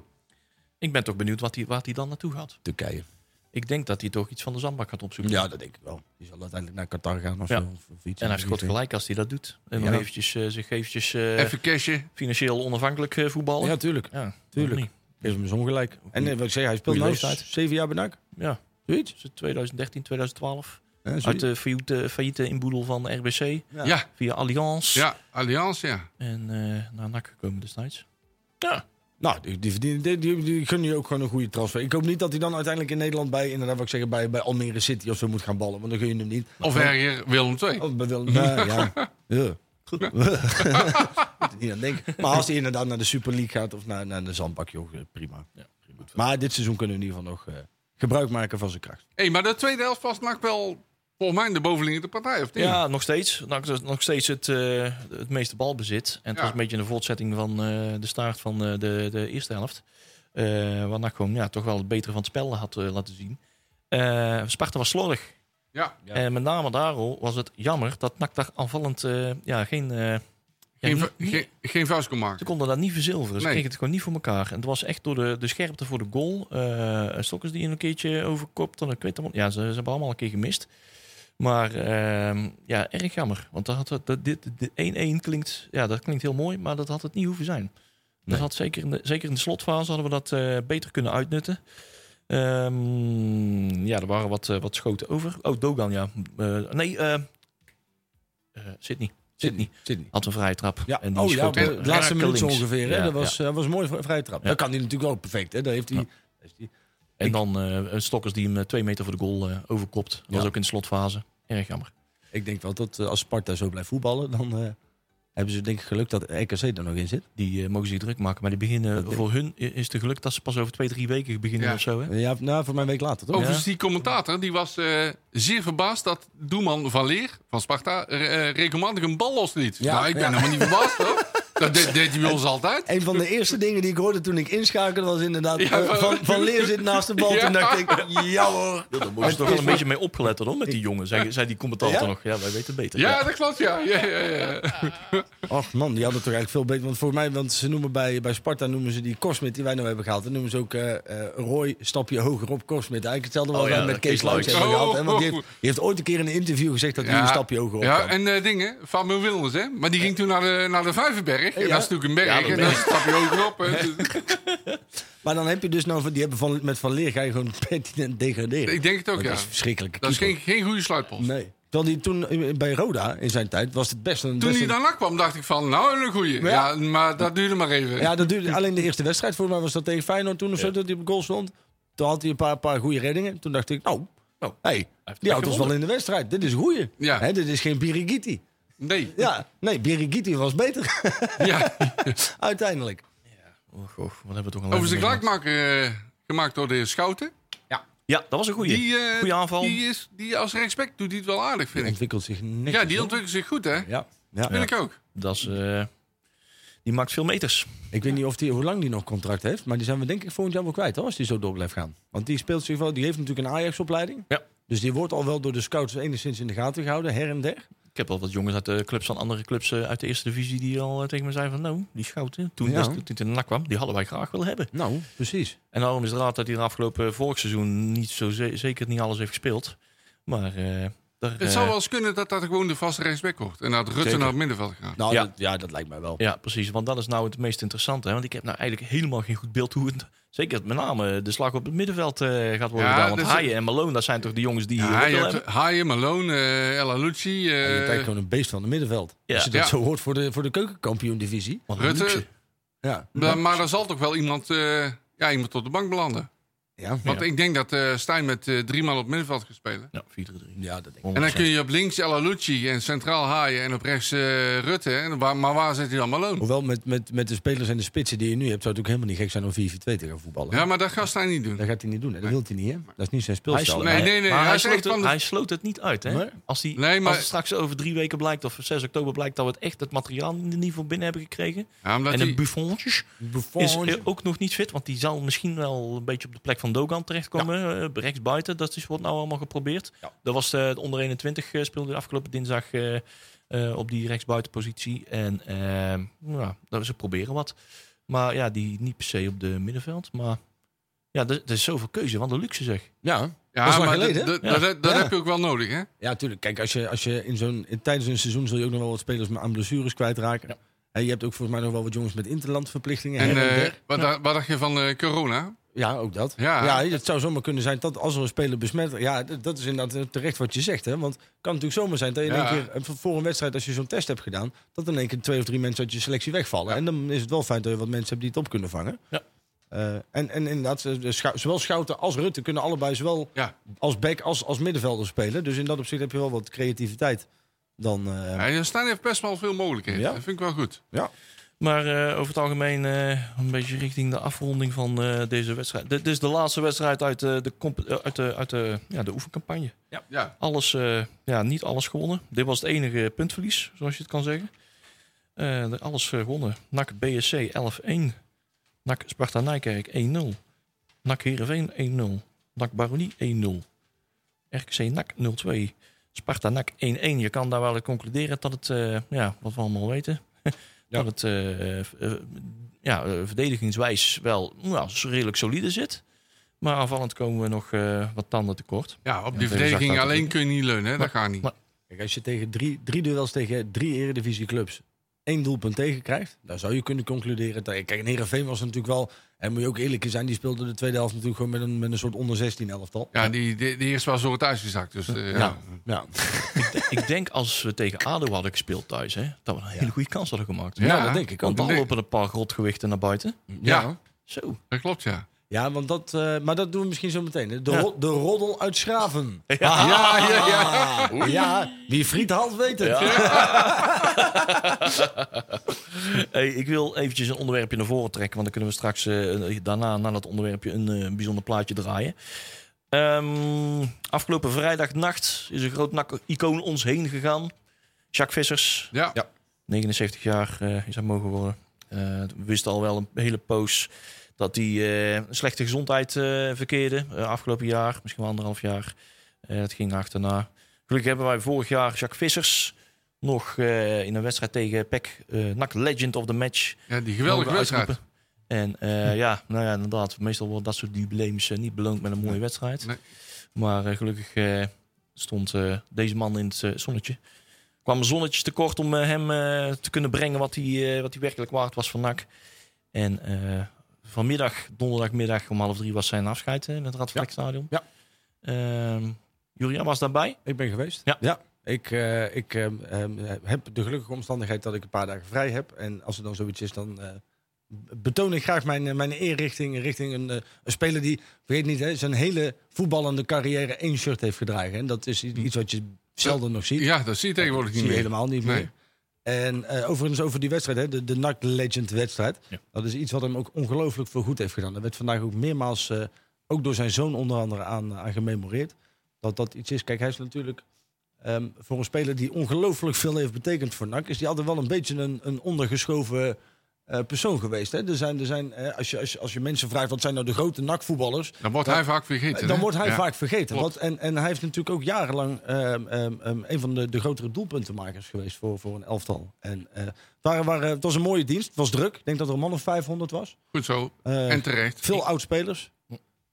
Ik ben toch benieuwd wat hij, waar hij dan naartoe gaat.
Turkije.
Ik denk dat hij toch iets van de zandbak gaat opzoeken.
Ja, dat denk ik wel. Die zal uiteindelijk naar Qatar gaan of
Ja.
zo. Of, of iets
En hij heeft goed gelijk als hij dat doet. En
Ja.
nog eventjes, eh, zich eventjes eh,
even cashen.
financieel onafhankelijk eh, voetballen.
Ja, tuurlijk.
Ja, waarom
Tuurlijk.
niet?
Geef hem eens ongelijk. En eh, wat ik zeg, hij speelt
dus Goeie
nu
leeftijd.
zeven jaar bij NAC.
Ja,
Zoiets?
dus 2013, 2012.
Ja,
Uit de failliete, failliete inboedel van RBC
Ja,
Ja.
ja,
via Allianz.
Alliance, ja.
En eh naar NAC gekomen destijds. Ja,
Nou, die, die, verdienen- die, die, die gunnen je ook gewoon een goede transfer. Ik hoop niet dat hij dan uiteindelijk in Nederland bij, inderdaad, wat ik zeggen, bij, bij Almere City of zo moet gaan ballen. Want dan gun je hem niet.
Of erger, Willem II.
Of bij Willem- nou, ja. ja. *laughs* Goed. Moet er niet aan denken. Maar als hij inderdaad naar de Super League gaat of naar, naar de Zandbak, joh, eh, prima. Maar dit seizoen kunnen we in ieder geval nog eh, gebruik maken van zijn kracht.
Hé, maar de tweede helft was NAC wel volgens mij de bovenliggende partij, of niet?
Ja, nog steeds. Nou, dat is nog steeds het, eh, het meeste balbezit. En het
Ja.
was een beetje een voortzetting van eh, de staart van eh, de, de eerste helft. Eh waar NAC gewoon ja, toch wel het betere van het spel had eh, laten zien. Eh, Sparta was slordig.
Ja.
Ja.
En met name daarom was het jammer dat NAC daar aanvallend eh, ja, geen... eh, ja,
Geen,
niet-
vu- geen, geen vuist kon
ze
maken.
konden dat niet verzilveren. Ze
Nee.
kregen het gewoon niet voor elkaar. En het was echt door de, de scherpte voor de goal. eh Stokkers die een keertje overkopten. Ik weet het allemaal- Ja, ze, ze hebben allemaal een keer gemist. Maar ehm, ja, erg jammer. Want dat had, het- dat, dit, de 1-1 klinkt, ja, dat klinkt heel mooi, maar dat had het niet hoeven zijn. Dat
Nee.
had zeker, in de, zeker in de slotfase hadden we dat eh, beter kunnen uitnutten. Ehm, ja, er waren wat, eh, wat schoten over. Oh, Dogan, ja. Eh, nee, eh eh, Sydney. Sydney
Sydney.
had een vrije trap.
Ja,
en die
oh ja,
schoot
op de
hem
laatste minuut zo
rakelings.
ongeveer. Hè?
Ja,
dat
ja.
was, eh, was een mooie vri- vrije trap.
Ja.
Dat kan hij natuurlijk wel perfect. Hè? Daar heeft hij...
Ja.
heeft hij-
En dan eh Stokkers die hem eh, twee meter voor de goal eh, overkopt. Dat was
Ja.
ook in de slotfase. Erg jammer.
Ik denk wel dat eh, als Sparta zo blijft voetballen, dan eh, Hebben ze denk ik geluk dat RKC er nog in zit.
Die eh, mogen zich druk maken. Maar die beginnen, voor hun i- is het geluk dat ze pas over twee, drie weken beginnen
Ja.
of zo. Hè?
Ja, nou, voor mijn week later toch?
Overigens, die commentator die was eh, zeer verbaasd dat Doeman van Leer van Sparta re- eh, regelmatig een bal losliet.
Ja,
nou, ik ben
ja.
helemaal niet verbaasd
*laughs*
hoor. Dat deed, deed hij bij ons altijd.
Een van de eerste dingen die ik hoorde toen ik inschakelde was inderdaad...
Ja,
eh,
van-
van, van Leer zit naast de bal.
Ja.
Toen dacht ik, ja hoor.
Daar moesten ze toch wel een beetje mee opgelet hoor, met die jongen. Zei, zei die commentator
Ja?
nog. Ja, wij weten beter.
Ja, dat klopt, ja. ja, ja, ja.
Och man, die hadden toch eigenlijk veel beter. Want voor mij, want ze noemen bij, bij Sparta noemen ze die Korsmit die wij nou hebben gehaald. Dan noemen ze ook eh eh, Roy stapje hoger op Korsmit. Eigenlijk hetzelfde wat
Oh
wij
ja,
met Kees
Kees
Langs
Luijks.
hebben gehad. hè. Want die
Oh.
heeft, die heeft ooit een keer in een interview gezegd dat hij een stapje hoger op
Ja,
kan.
en eh, dingen, Fabio Willems, hè. Maar die ging toen naar de, naar de Vijverberg. En
Ja.
dat is natuurlijk een berg.
Ja, dat
en
ben
dan
ik.
stap je ook op. hè. Dus-
Maar dan heb je dus nou, van- die hebben van, met Van Leer ga je gewoon *laughs* pertinent degraderen.
ik denk het ook,
dat
ja.
is verschrikkelijk.
Dat is geen, geen goede sluitpost.
Nee. Terwijl die toen eh, bij Roda in zijn tijd was het best een...
Toen
best
hij
een-
daarna kwam, dacht ik van, nou, een goeie.
Ja.
Ja, maar dat duurde maar even.
Ja, dat duurde alleen de eerste wedstrijd. Voor mij was dat tegen Feyenoord toen of zo, dat hij op goal stond. Toen had hij een paar, paar goede reddingen. Toen dacht ik, nou,
Oh,
hey,
heeft
die houdt
echt
ons wel in de wedstrijd. Dit is een goeie.
Ja.
Hè, dit is geen Birigiti.
Nee.
Ja, nee, Birigiti was beter *laughs*
Ja.
uiteindelijk.
Och, och, wat hebben we toch een
Overigens, de
leven meegemaakt.
gelijkmaker eh, gemaakt door de heer Schouten.
Ja, dat was een goede.
Die, eh,
goede aanval.
Die, is, die als respect doet hij het wel aardig, vind ik.
Ontwikkelt zich niks.
Ja, die ontwikkelt zich goed, hè?
Ja. Ja.
Vind ik ook.
Dat is, eh, die maakt veel meters.
Ik weet niet of die, hoe lang die nog contract heeft, maar die zijn we denk ik volgend jaar wel kwijt hoor, als die zo door blijft gaan. Want die speelt zich wel, die heeft natuurlijk een Ajax-opleiding.
Ja.
Dus die wordt al wel door de scouts enigszins in de gaten gehouden, her en der.
Ik heb al wat jongens uit de clubs van andere clubs eh, uit de eerste divisie die al eh, tegen me zeiden van nou, die schouten, toen
Ja.
ja. toen het in de nak kwam, die hadden wij graag willen hebben.
Nou, precies.
En daarom is het raad dat hij de afgelopen vorig seizoen niet zo ze- zeker niet alles heeft gespeeld. Maar eh, daar,
Het
eh,
zou wel eens kunnen dat dat gewoon de vaste rechtsback wordt. En dat Rutte
Zeker.
naar het middenveld gaat.
Nou,
Ja.
Dat, ja, dat lijkt mij wel.
Ja, precies. Want dat is nou het meest interessante. Hè? Want ik heb nou eigenlijk helemaal geen goed beeld hoe het... Zeker met name de slag op het middenveld eh, gaat worden
Ja,
gedaan. Want
dus-
Haaien en Malone, dat zijn toch de jongens die...
Ja,
hier
je hebt Haaien, Malone, eh, El Alucci, eh,
je kijkt gewoon een beest van het middenveld.
Ja.
Als je dat
Ja.
zo hoort voor de, voor de keukenkampioen-divisie.
Rutte.
Ja.
Maar, maar er zal toch wel iemand, eh, ja, iemand op de bank belanden.
Ja.
Want ik denk dat eh Stijn met eh, drie man op het middenveld gaat spelen.
Ja, 4-3.
ja, dat denk ik.
En dan kun je op links El Alucci en centraal Haaien en op rechts eh, Rutte. En waar, maar waar zit hij dan Malone?
Hoewel met, met, met de spelers en de spitsen die je nu hebt, zou het ook helemaal niet gek zijn om 4-4-2 te gaan voetballen.
Ja, maar dat gaat Stijn niet doen.
Dat gaat hij niet doen. hè. Dat wil hij niet, hè? Dat is niet zijn
Hij
speelstijl.
sloot,
Nee,
hij-
nee, nee,
maar
hij
hij,
is echt
sloot
van
het,
de-
hij sloot het niet uit. Hè?
Nee?
Als, die,
Nee, maar-
als het straks over drie weken blijkt of 6 oktober blijkt dat we het echt het materiaal er niet voor binnen hebben gekregen.
Ja, omdat
en
hij-
een Buffontjes
Buffon.
is eh, ook nog niet fit. Want die zal misschien wel een beetje op de plek van Dogan terechtkomen. eh, rechts buiten, dat is wat nou allemaal geprobeerd. Dat was eh, de onder 21 eh, speelde afgelopen dinsdag eh, eh, op die rechtsbuitenpositie. En eh, ja, dat- ze proberen wat. Maar ja, die niet per se op de middenveld. Maar ja, er er is zoveel keuze. Want de luxe zeg.
Ja.
Ja,
Dat is lang
maar
geleden,
dat-
hè?
dat- dat- dat
Ja.
heb je ook wel nodig, hè?
ja, tuurlijk. Kijk, als je, als je in zo'n, in- tijdens een seizoen zul je ook nog wel wat spelers met- aan blessures kwijtraken. En je hebt ook volgens mij nog wel wat jongens met interlandverplichtingen.
En
her en
eh,
der.
wat, da- wat dacht je van eh, corona?
Ja, ook dat.
Ja.
Ja. het zou zomaar kunnen zijn dat als er een speler besmet... Ja, d- dat is inderdaad eh, terecht wat je zegt. Hè? Want het kan natuurlijk zomaar zijn dat je in
Ja.
één keer... eh, voor een wedstrijd, als je zo'n test hebt gedaan... dat in één keer twee of drie mensen uit je selectie wegvallen. En dan is het wel fijn dat je wat mensen hebt die het op kunnen vangen.
Ja.
Eh, en, en inderdaad, eh, de Schou- zowel Schouten als Rutte kunnen allebei... zowel
Ja.
als back als, als middenvelder spelen. Dus in dat opzicht heb je wel wat creativiteit. Dan, eh,
Ja, ja, Stijn heeft best wel veel mogelijkheden.
Ja.
Dat vind ik wel goed.
Maar eh, over het algemeen eh, een beetje richting de afronding van eh, deze wedstrijd. Dit is de laatste wedstrijd uit, eh, de, comp- eh, uit, de, uit de, ja, de oefencampagne.
Ja.
Alles, eh, ja, niet alles gewonnen. Dit was het enige puntverlies, zoals je het kan zeggen. Eh, de- alles eh, gewonnen. NAC BSC 11-1. NAC Sparta Nijkerk 1-0. NAC Heerenveen 1-0. NAC Baronie 1-0. RKC NAC 0-2. Sparta NAC 1-1. Je kan daar wel uit concluderen dat het, eh, ja, wat we allemaal weten... *laughs* dat het eh, eh, ja, eh, verdedigingswijs wel nou, redelijk solide zit. Maar aanvallend komen we nog eh, wat tanden tekort.
Ja, op
Ja,
die
tegen
verdediging
Zacht
alleen
natuurlijk.
kun je niet leunen, hè? dat gaat niet.
maar-
Kijk, als je tegen drie, drie duels tegen drie eredivisieclubs één doelpunt tegen krijgt, dan zou je kunnen concluderen. Dat, kijk, en Heerenveen was natuurlijk wel, en moet je ook eerlijk in zijn, die speelde de tweede helft natuurlijk gewoon met een, met een soort onder 16 elftal.
Ja, die, die, die eerste was door het uitgezakt. Dus, eh, ja.
Ja.
Ik denk als we tegen ADO hadden gespeeld thuis, hè, dat we een hele goede kans hadden gemaakt.
Ja.
Nou, dat denk ik ook.
Want dan
dat denk-
lopen er een paar rotgewichten naar buiten.
Ja.
Zo.
dat klopt, ja.
Ja, want dat, eh, maar dat doen we misschien zo meteen. hè. De,
Ja.
ro- de roddel uit Schraven.
Ja, ja, ja.
Ah, ja, wie friet haalt weet het.
*laughs* Hey, ik wil eventjes een onderwerpje naar voren trekken. Want dan kunnen we straks eh, daarna, na dat onderwerpje, een eh, bijzonder plaatje draaien. Ehm, afgelopen vrijdagnacht is een groot NAC-icoon ons heen gegaan. Jacques Vissers,
Ja.
Ja.
79 jaar eh, is hij mogen worden. Eh, we wisten al wel een hele poos dat hij eh, een slechte gezondheid eh, verkeerde. eh, afgelopen jaar, misschien wel anderhalf jaar. Eh het ging achterna. Gelukkig hebben wij vorig jaar Jacques Vissers nog eh, in een wedstrijd tegen PEC. eh NAC Legend of the Match.
Ja, die geweldige
mogen
wedstrijd.
uitroepen. En eh, ja, nou ja, inderdaad. Meestal wordt dat soort jubileums eh, niet beloond met een mooie wedstrijd.
Nee.
Maar eh, gelukkig eh, stond eh, deze man in het eh, zonnetje. Kwamen zonnetjes tekort om eh, hem eh, te kunnen brengen wat hij, eh, wat hij werkelijk waard was van NAC. En eh, vanmiddag, donderdagmiddag om half drie, was zijn afscheid eh, in het Radverlegstadion.
Ja.
Ehm, Julian was daarbij.
Ik ben geweest.
Ja.
Ik, eh, ik ehm, ehm, heb de gelukkige omstandigheid dat ik een paar dagen vrij heb. En als er dan zoiets is, dan eh, betoon ik graag mijn, eh, mijn eerrichting richting een, eh, een speler die, vergeet niet, hè, zijn hele voetballende carrière één shirt heeft gedragen. En dat is i- iets wat je zelden nog ziet.
Ja, dat zie je tegenwoordig
zie
niet
je
meer.
helemaal niet
Nee.
meer. En eh, overigens over die wedstrijd, hè, de, de NAC Legend wedstrijd.
Ja.
Dat is iets wat hem ook ongelooflijk veel goed heeft gedaan. Dat werd vandaag ook meermaals, eh, ook door zijn zoon onder andere, aan, aan gememoreerd. Dat dat iets is. Kijk, hij is natuurlijk ehm, voor een speler die ongelooflijk veel heeft betekend voor NAC... is hij altijd wel een beetje een, een ondergeschoven eh, persoon geweest. Hè? Er zijn, er zijn, eh, als, je, als, je- als je mensen vraagt, wat zijn nou de grote NAC-voetballers...
Dan wordt
Dan-
hij vaak vergeten.
Dan
hè?
wordt hij
Ja.
vaak vergeten.
Klopt.
Want, en, en hij heeft natuurlijk ook jarenlang ehm, ehm, ehm, een van de, de grotere doelpuntenmakers geweest voor, voor een elftal. En, eh, het, waren, waren, het was een mooie dienst, het was druk. Ik denk dat er een man of 500 was.
Goed zo.
Eh,
En terecht.
veel oud-spelers.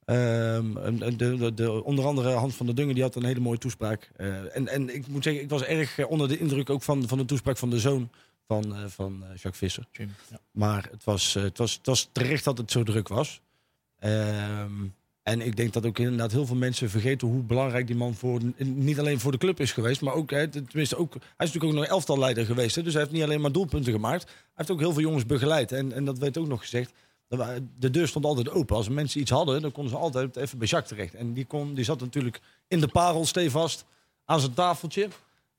Ehm, en- en de, de, de, onder andere Hans van der Dungen, die had een hele mooie toespraak. Eh, en, en ik moet zeggen, ik was erg eh, onder de indruk ook van, van de toespraak van de zoon van, eh, van eh, Jacques Visser. Maar het was, eh, het, was, het was terecht dat het zo druk was. Ehm, en ik denk dat ook inderdaad heel veel mensen vergeten hoe belangrijk die man voor, niet alleen voor de club is geweest, maar ook, hè, tenminste ook, hij is natuurlijk ook nog elftalleider geweest. Hè, dus hij heeft niet alleen maar doelpunten gemaakt, hij heeft ook heel veel jongens begeleid. En, en dat werd ook nog gezegd, dat wa- de deur stond altijd open. Als mensen iets hadden, dan konden ze altijd even bij Jacques terecht. En die, kon, die zat natuurlijk in de parel stevast aan zijn tafeltje.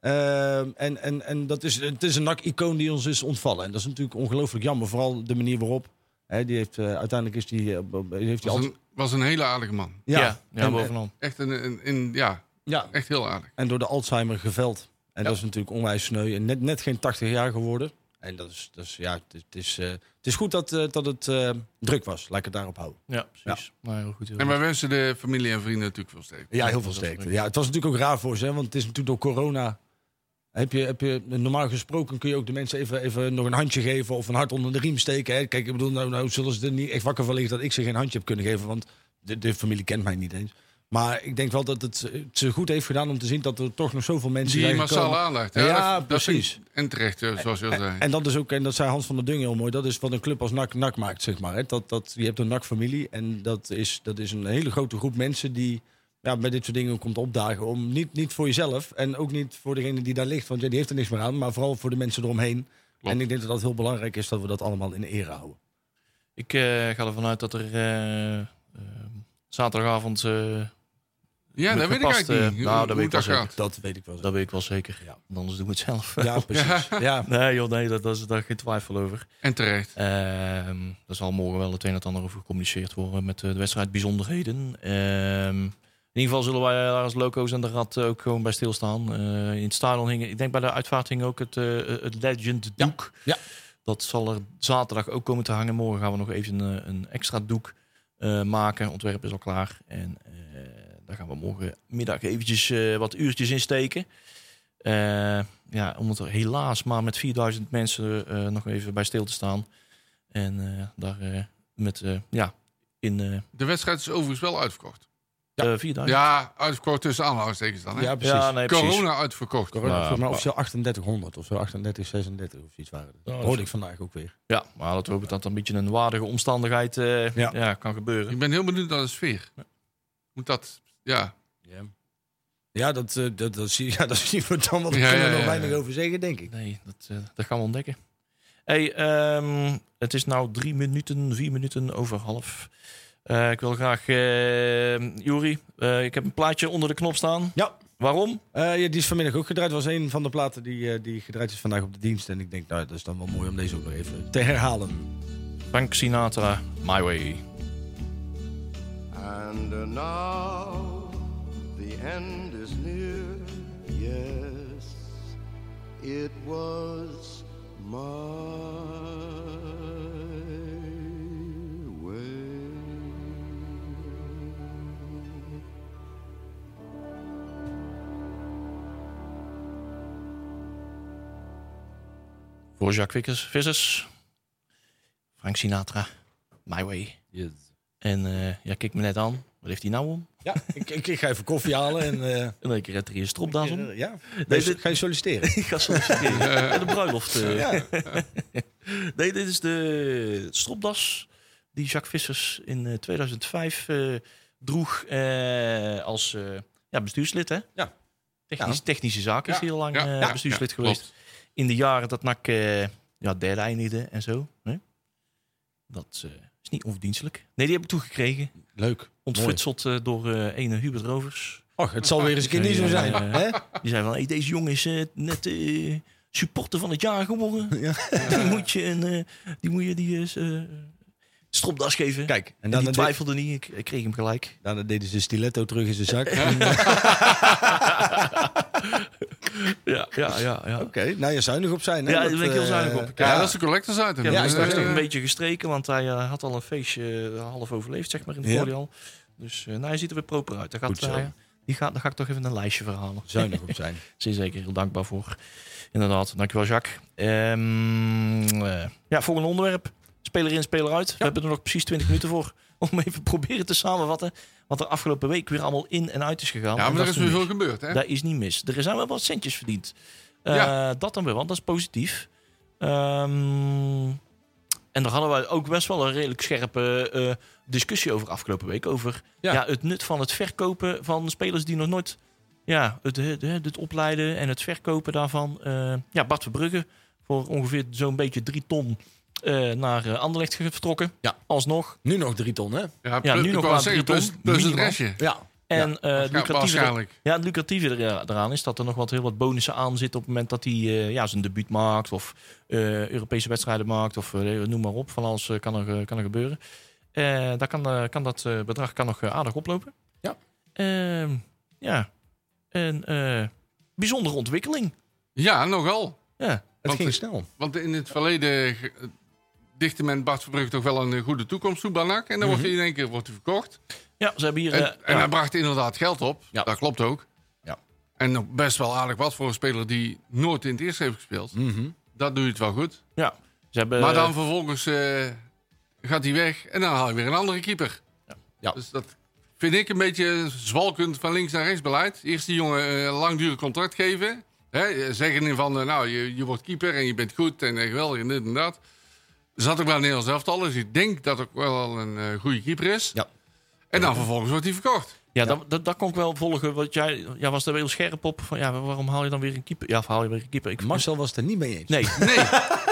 Ehm, en en, en dat is, het is een NAC-icoon die ons is ontvallen. En dat is natuurlijk ongelooflijk jammer. Vooral de manier waarop. Hè, die heeft, eh, uiteindelijk is die, eh, b- b- heeft hij
Was
altijd...
een, was een hele aardige man.
Ja,
Ja,
ja,
en, eh,
bovenal.
Echt, een, een, een- ja,
ja,
echt heel aardig.
en door de Alzheimer geveld. En dat is natuurlijk onwijs sneu. En net, net geen 80 jaar geworden. En dat is, dat is ja, het is- het is, eh, het is goed dat, eh, dat het eh, druk was. Laat ik het daarop houden.
Ja, precies. Nou ja, goed, heel
En
goed.
wij wensen de familie en vrienden natuurlijk veel sterkte.
Ja, heel veel sterkte. Ja, het was natuurlijk ook raar voor ze, hè, want het is natuurlijk door corona. Heb je, heb je, normaal gesproken kun je ook de mensen even, even nog een handje geven of een hart onder de riem steken. Hè. Kijk, ik bedoel, nou, nou zullen ze er niet echt wakker van liggen dat ik ze geen handje heb kunnen geven, want de, de familie kent mij niet eens. Maar ik denk wel dat het, eh, het ze goed heeft gedaan om te zien dat er toch nog zoveel mensen
Die
zijn
massaal
gekomen.
aanlegt.
Ja, precies.
en terecht, eh, zoals je al zei.
En dat is ook, en dat zei Hans van der Dung heel mooi, dat is wat een club als NAC NAC maakt, zeg maar. Hè? Dat, dat, je hebt een NAC-familie en dat is, dat is een hele grote groep mensen die ja, met dit soort dingen komt opdagen. Om, niet, niet voor jezelf en ook niet voor degene die daar ligt, want ja, die heeft er niks meer aan, maar vooral voor de mensen eromheen.
Klopt.
En ik denk dat dat heel belangrijk is dat we dat allemaal in ere houden.
Ik eh, ga ervan uit dat er eh, eh, zaterdagavond... eh,
Ja, dat weet ik
gepast,
eigenlijk
eh,
niet.
nou,
hoe-
dat
hoe
weet ik wel zeker.
gaat.
Dat weet ik wel. zo.
Dat weet ik wel zeker. Ja. Anders doen we het zelf. *laughs*
Ja, precies. Ja.
Nee, joh, nee, dat, dat is daar geen twijfel over.
En terecht.
Ehm er zal morgen wel het een en het ander over gecommuniceerd worden met eh, de wedstrijd bijzonderheden. Ehm, in ieder geval zullen wij daar als loco's en de rad eh, ook gewoon bij stilstaan. Eh, in het stadion hingen, ik denk bij de uitvaart hing ook het, eh, het Legend doek.
ja.
Dat zal er zaterdag ook komen te hangen. Morgen gaan we nog even een, eh, een extra doek eh, maken. Ontwerp is al klaar. En eh, daar gaan we morgenmiddag eventjes eh, wat uurtjes in steken. Eh, ja, om het er helaas maar met 4000 mensen eh, nog even bij stil te staan. En eh, daar eh, met, eh, ja, in eh
De wedstrijd is overigens wel uitverkocht.
eh, 4000.
Ja, uitverkocht tussen aanhalingstekens dan. Hè?
ja, precies.
Ja, nee, precies.
Corona uitverkocht.
Corona,
Maar-
volgens mij officieel 3800 of zo, 38, 36 of iets waren. het.
Oh,
Dat
dat
hoorde
is-
ik vandaag ook weer.
Ja, maar dat we hopen dat dat een beetje een waardige omstandigheid eh,
Ja.
ja. kan gebeuren.
Ik ben heel benieuwd naar de sfeer. Moet dat... Ja,
Ja, dat, eh, dat, dat, zie, *laughs* ja, dat zien we dan wel. Daar
Ja,
kunnen we
ja,
nog
ja,
weinig
ja.
over zeggen, denk ik.
Nee, dat, eh, dat gaan we ontdekken. Hey, ehm, het is nou drie minuten, vier minuten over half. Eh, ik wil graag, eh Juri, eh, ik heb een plaatje onder de knop staan.
Ja.
Waarom?
Eh, ja, die is vanmiddag ook gedraaid. was een van de platen die, eh, die gedraaid is vandaag op de dienst. En ik denk, nou, dat is dan wel mooi om deze ook nog even te herhalen.
Frank Sinatra, My Way.
And uh, now the end is near. Yes, it was my way.
Voor Jacques Vickers, Vissers. Frank Sinatra, My Way. En eh, ja, kijk me net aan. Wat heeft hij nou om?
Ja, *laughs* ik, ik, ik ga even koffie halen en... eh,
En dan redt hij een stropdas om.
eh, ja,
Deze-
Ga je- ga je solliciteren.
*laughs* Ik ga solliciteren. Ja, de bruiloft. eh. *laughs* nee, dit is de stropdas die Jacques Vissers in eh, 2005 eh, droeg eh, als eh, ja, bestuurslid. Hè?
Ja.
Technisch, Technische zaken is
Ja,
hij heel lang
ja,
eh,
ja,
bestuurslid
ja,
geweest. In de jaren dat NAC eh, ja, derde eindigde en zo. Hè? Dat eh, is niet onverdienstelijk. Nee, die heb ik toegekregen.
Leuk.
Ontfutseld eh, door eh, ene Hubert Rovers.
Och, het zal weer eens een keer niet zo zijn.
Ja, ja.
hè?
Die zei van, hey, deze jongen is eh, net eh, supporter van het jaar geworden.
*laughs* Ja.
Die moet je een, eh, die, moet je die eh, s- eh, stropdas geven.
Kijk, en
en
dan
die
een
twijfelde niet. Ik, ik kreeg hem gelijk.
Daarna deden ze stiletto terug in zijn zak.
*laughs*
Oké,
Ja, ja, ja. ja.
nou je zuinig op zijn. Hè?
Ja,
Dat,
daar ben ik heel
eh,
zuinig op.
Ja,
Ja.
dat is de collectors item.
Ja, maar
Dus,
hij is
eh,
toch een beetje gestreken, want hij eh, had al een feestje eh, half overleefd, zeg maar, in het
Ja.
voordeel. Dus eh nou, hij ziet er weer proper uit. Daar gaat,
Goed zo.
hij- die gaat, daar ga ik toch even een lijstje verhalen. *laughs*
Zuinig op zijn.
Ze zeker heel dankbaar voor. Inderdaad, dankjewel Jacques. Ehm eh ja, volgende onderwerp. Speler in, speler uit. We hebben er nog precies 20 minuten voor om even proberen te samenvatten wat er afgelopen week weer allemaal in en uit is gegaan.
ja,
En
maar
dat
er is weer
niet
veel
mis.
gebeurd, hè?
Daar is niet mis. Er zijn wel wat centjes verdiend. Eh,
Ja.
Dat dan weer, want dat is positief. Ehm, en daar hadden wij ook best wel een redelijk scherpe eh, discussie over afgelopen week. Over ja.
Ja.
het nut van het verkopen van spelers die nog nooit... Ja, het, het, het opleiden en het verkopen daarvan. Eh, ja, Bart Verbrugge voor ongeveer zo'n beetje drie ton eh, naar eh, Anderlecht vertrokken.
Ja.
Alsnog.
Nu nog drie ton, hè?
Ja,
Ja, nu
ik
nog
wou
maar
zeggen,
drie
plus,
ton,
plus het
minimaal.
restje.
Ja.
En eh,
Ja,
lucratieve
waarschijnlijk.
Ja, het lucratieve er- eraan is dat er nog wat heel wat bonussen aan zitten op het moment dat hij eh, ja, zijn debuut maakt of eh, Europese wedstrijden maakt of eh, noem maar op. Van alles eh, kan, er, eh, kan er gebeuren. Eh daar kan, eh, kan dat eh, bedrag kan nog eh, aardig oplopen.
Ja.
Ehm, ja. En eh, bijzondere ontwikkeling.
Ja, nogal.
Ja.
Het
Want-
ging snel.
Want in het verleden ge- dichtte men Bart Verbrugge toch wel een eh, goede toekomst toe bij NAC. En dan wordt hij in één keer wordt hij verkocht.
ja, ze hebben hier...
En,
eh,
en
ja.
hij bracht inderdaad geld op.
Ja.
Dat klopt ook.
Ja.
En nog best wel aardig wat voor een speler die nooit in het eerste heeft gespeeld. Dat doe je het wel goed.
ja. Ze hebben,
maar dan vervolgens eh, gaat hij weg en dan haal je weer een andere keeper.
Ja.
Dus dat vind ik een beetje zwalkend van links naar rechts beleid. Eerst die jongen eh, een langdurig contract geven. Hè, zeggen in van, eh, nou, je, je wordt keeper en je bent goed en eh, geweldig en dit en dat. Er Zat ook wel een Nederlands elftal, dus ik denk dat ook wel een eh, goede keeper is.
Ja.
En dan vervolgens wordt hij verkocht.
Ja, Dat, dat, dat kon ik wel volgen. Want jij, jij was er heel scherp op. Van, ja, waarom haal je dan weer een keeper? Ja, of haal je weer een keeper? Ik,
Marcel was het er niet mee eens.
Nee,
*laughs* Nee,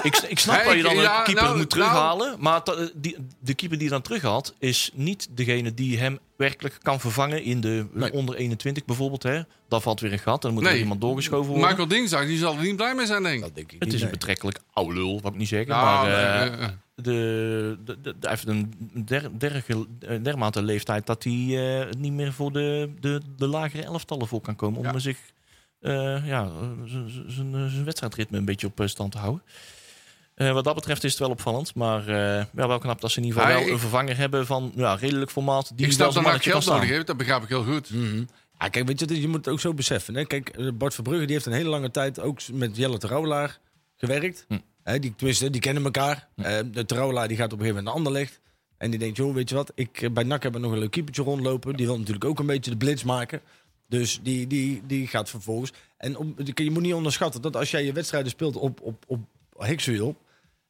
Ik, ik snap
Ja,
dat je
ik-
dan een
ja,
keeper
nou,
moet terughalen. Maar dat- die, de keeper die je dan terug had, is niet degene die hem werkelijk kan vervangen in de eh,
Nee.
onder 21 bijvoorbeeld. Hè. Daar valt weer een gat en dan moet er
Nee.
iemand doorgeschoven worden.
Michael Dinsdag, die zal er niet blij mee zijn, denk ik.
Dat denk ik
het
niet,
is een
nee.
betrekkelijk oude lul, wat ik niet zeggen.
Nou,
maar
nee,
eh,
eh, eh.
de, de, de- hij heeft een der, derge- eh, dermate leeftijd dat hij eh, niet meer voor de, de, de lagere elftallen voor kan komen. Om
Ja.
zich eh, ja, eh, z- z- zijn eh, zijn wedstrijdritme een beetje op eh, stand te houden. Eh, wat dat betreft is het wel opvallend. Maar eh ja, wel knap dat ze in ieder geval
Ah,
wel
ik-
een vervanger hebben van ja, redelijk formaat. Die
ik snap
wel
dat
zijn
NAC
mannetje kan
geld nodig
staan. Mm.
heeft, dat begrijp ik heel goed.
Ja, Ah, kijk, weet je, dat- je moet het ook zo beseffen. Hè? Kijk, eh, Bart Verbrugge die heeft een hele lange tijd ook met Jelle Terouwelaar gewerkt.
Hm.
Hè, die, tenminste, die kennen elkaar. Eh, de Terouwelaar die gaat op een gegeven moment naar Anderlecht. En die denkt, joh, weet je wat, ik, eh, bij NAC hebben we nog een leuk keepertje rondlopen. Die wil natuurlijk ook een beetje de blitz maken. Dus die, die, die gaat vervolgens... En om, je moet niet onderschatten dat als jij je wedstrijden speelt op, op, op Hexwiel...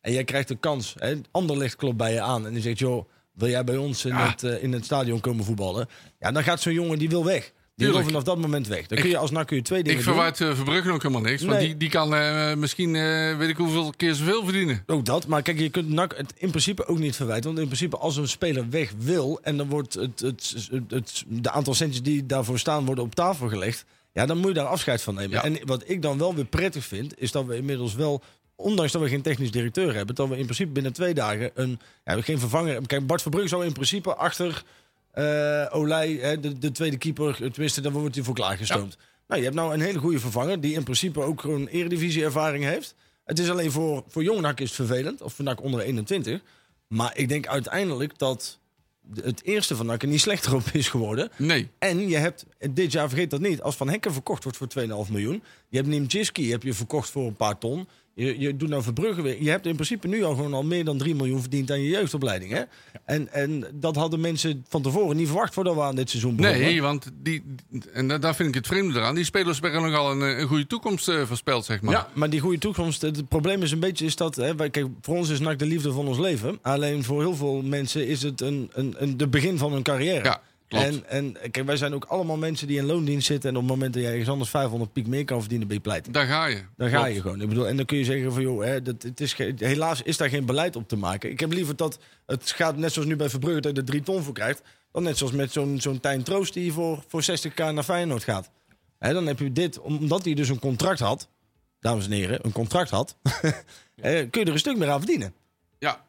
en jij krijgt de kans, hè, Anderlecht klopt bij je aan... en die zegt, joh, wil jij bij ons in,
Ja.
het, eh, in het stadion komen voetballen? Ja, dan gaat zo'n jongen, die wil weg. Die wil
Tuurlijk.
vanaf dat moment weg. Dan kun je als NAC kun je twee dingen
Ik verwaart eh, Verbrugge ook helemaal niks. Want
Nee.
die, die kan eh, misschien eh, weet ik hoeveel keer zoveel verdienen.
doen. Ook dat. Maar kijk, je kunt NAC het in principe ook niet verwijten. Want in principe als een speler weg wil... en dan wordt het, het, het, het- de aantal centjes die daarvoor staan worden op tafel gelegd... ja, dan moet je daar afscheid van nemen.
Ja.
En wat ik dan wel weer prettig vind... is dat we inmiddels wel... Ondanks dat we geen technisch directeur hebben, dat we in principe binnen twee dagen een ja, geen vervanger hebben. Kijk, Bart Verbrugge zou in principe achter eh Olij, hè, de, de tweede keeper, tenminste, daar wordt hij voor klaargestoomd. Nou, je hebt nou een hele goede vervanger die in principe ook gewoon eredivisie-ervaring heeft. Het is alleen voor, voor jong NAC is het vervelend, of voor NAC onder de 21. Maar ik denk uiteindelijk dat de- het eerste van NAC er niet slechter op is geworden.
Nee.
En je hebt, dit jaar vergeet dat niet, als Van Hekken verkocht wordt voor 2,5 miljoen. Je hebt Nimczynski heb je verkocht voor een paar ton. Je, je doet nou Verbrugge weer. Je hebt in principe nu al gewoon al meer dan 3 miljoen verdiend aan je jeugdopleiding. Hè? En, en dat hadden mensen van tevoren niet verwacht voordat we aan dit seizoen begonnen.
Nee, want die, en da- daar vind ik het vreemde eraan. Die spelers werden nogal een, eh, een goede toekomst eh, voorspeld, zeg maar.
Ja, maar die goede toekomst. Het, het probleem is een beetje is dat. Hè, wij, kijk, voor ons is NAC de liefde van ons leven. Alleen voor heel veel mensen is het een, een, een, de begin van hun carrière.
Ja, klopt.
En, en kijk, wij zijn ook allemaal mensen die in loondienst zitten. En op het moment dat jij ergens anders 500 piek meer kan verdienen, ben je pleit.
Daar ga je.
Dan ga
Klopt.
je gewoon. Ik bedoel, en dan kun je zeggen van joh, hè, dat, het is ge- helaas is daar geen beleid op te maken. Ik heb liever dat het gaat net zoals nu bij Verbrugge dat je er drie ton voor krijgt. Dan net zoals met zo'n zo'n Tijn Troost die voor, voor 60k naar Feyenoord gaat. Hè, dan heb je dit, omdat hij dus een contract had, dames en heren, een contract had, *laughs* hè, kun je er een stuk meer aan verdienen.
Ja.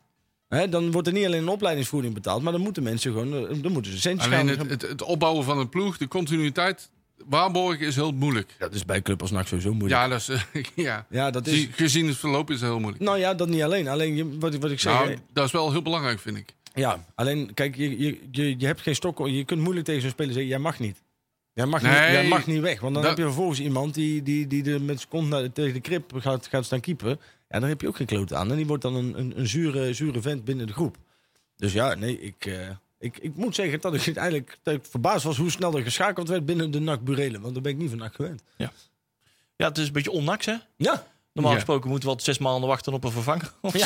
Hè, dan wordt er niet alleen een opleidingsvoering betaald, maar dan moeten mensen gewoon, eh, dan moeten ze centjes
Alleen
gaan.
het, het, het opbouwen van een ploeg, de continuïteit waarborgen is heel moeilijk.
dat is bij een club als NAC sowieso moeilijk.
Ja, dat is, eh, *laughs* ja.
Ja, dat is.
Zie- gezien het verloop is het heel moeilijk.
Nou ja, dat niet alleen. Alleen je- wat, ik- wat ik zeg. hè,
Nou, dat is wel heel belangrijk, vind ik.
Ja, alleen kijk, je, je, je, je hebt geen stok. Je kunt moeilijk tegen zo'n speler zeggen: jij mag niet. Jij mag, niet,
Nee.
jij mag niet weg. Want dan
Dat-
heb je vervolgens iemand die, die, die er met zijn kont naar, tegen de krip gaat, gaat staan keepen. Ja, daar heb je ook geen kloot aan. En die wordt dan een, een, een zure, zure vent binnen de groep. Dus ja, nee, ik, eh, ik, ik moet zeggen dat ik eigenlijk dat ik verbaasd was hoe snel er geschakeld werd binnen de NAC Burelen. Want daar ben ik niet van NAC gewend.
Ja, het is een beetje onnaks, hè?
Ja,
Normaal
Ja.
gesproken moeten we altijd zes maanden wachten op een vervanger. Of zo.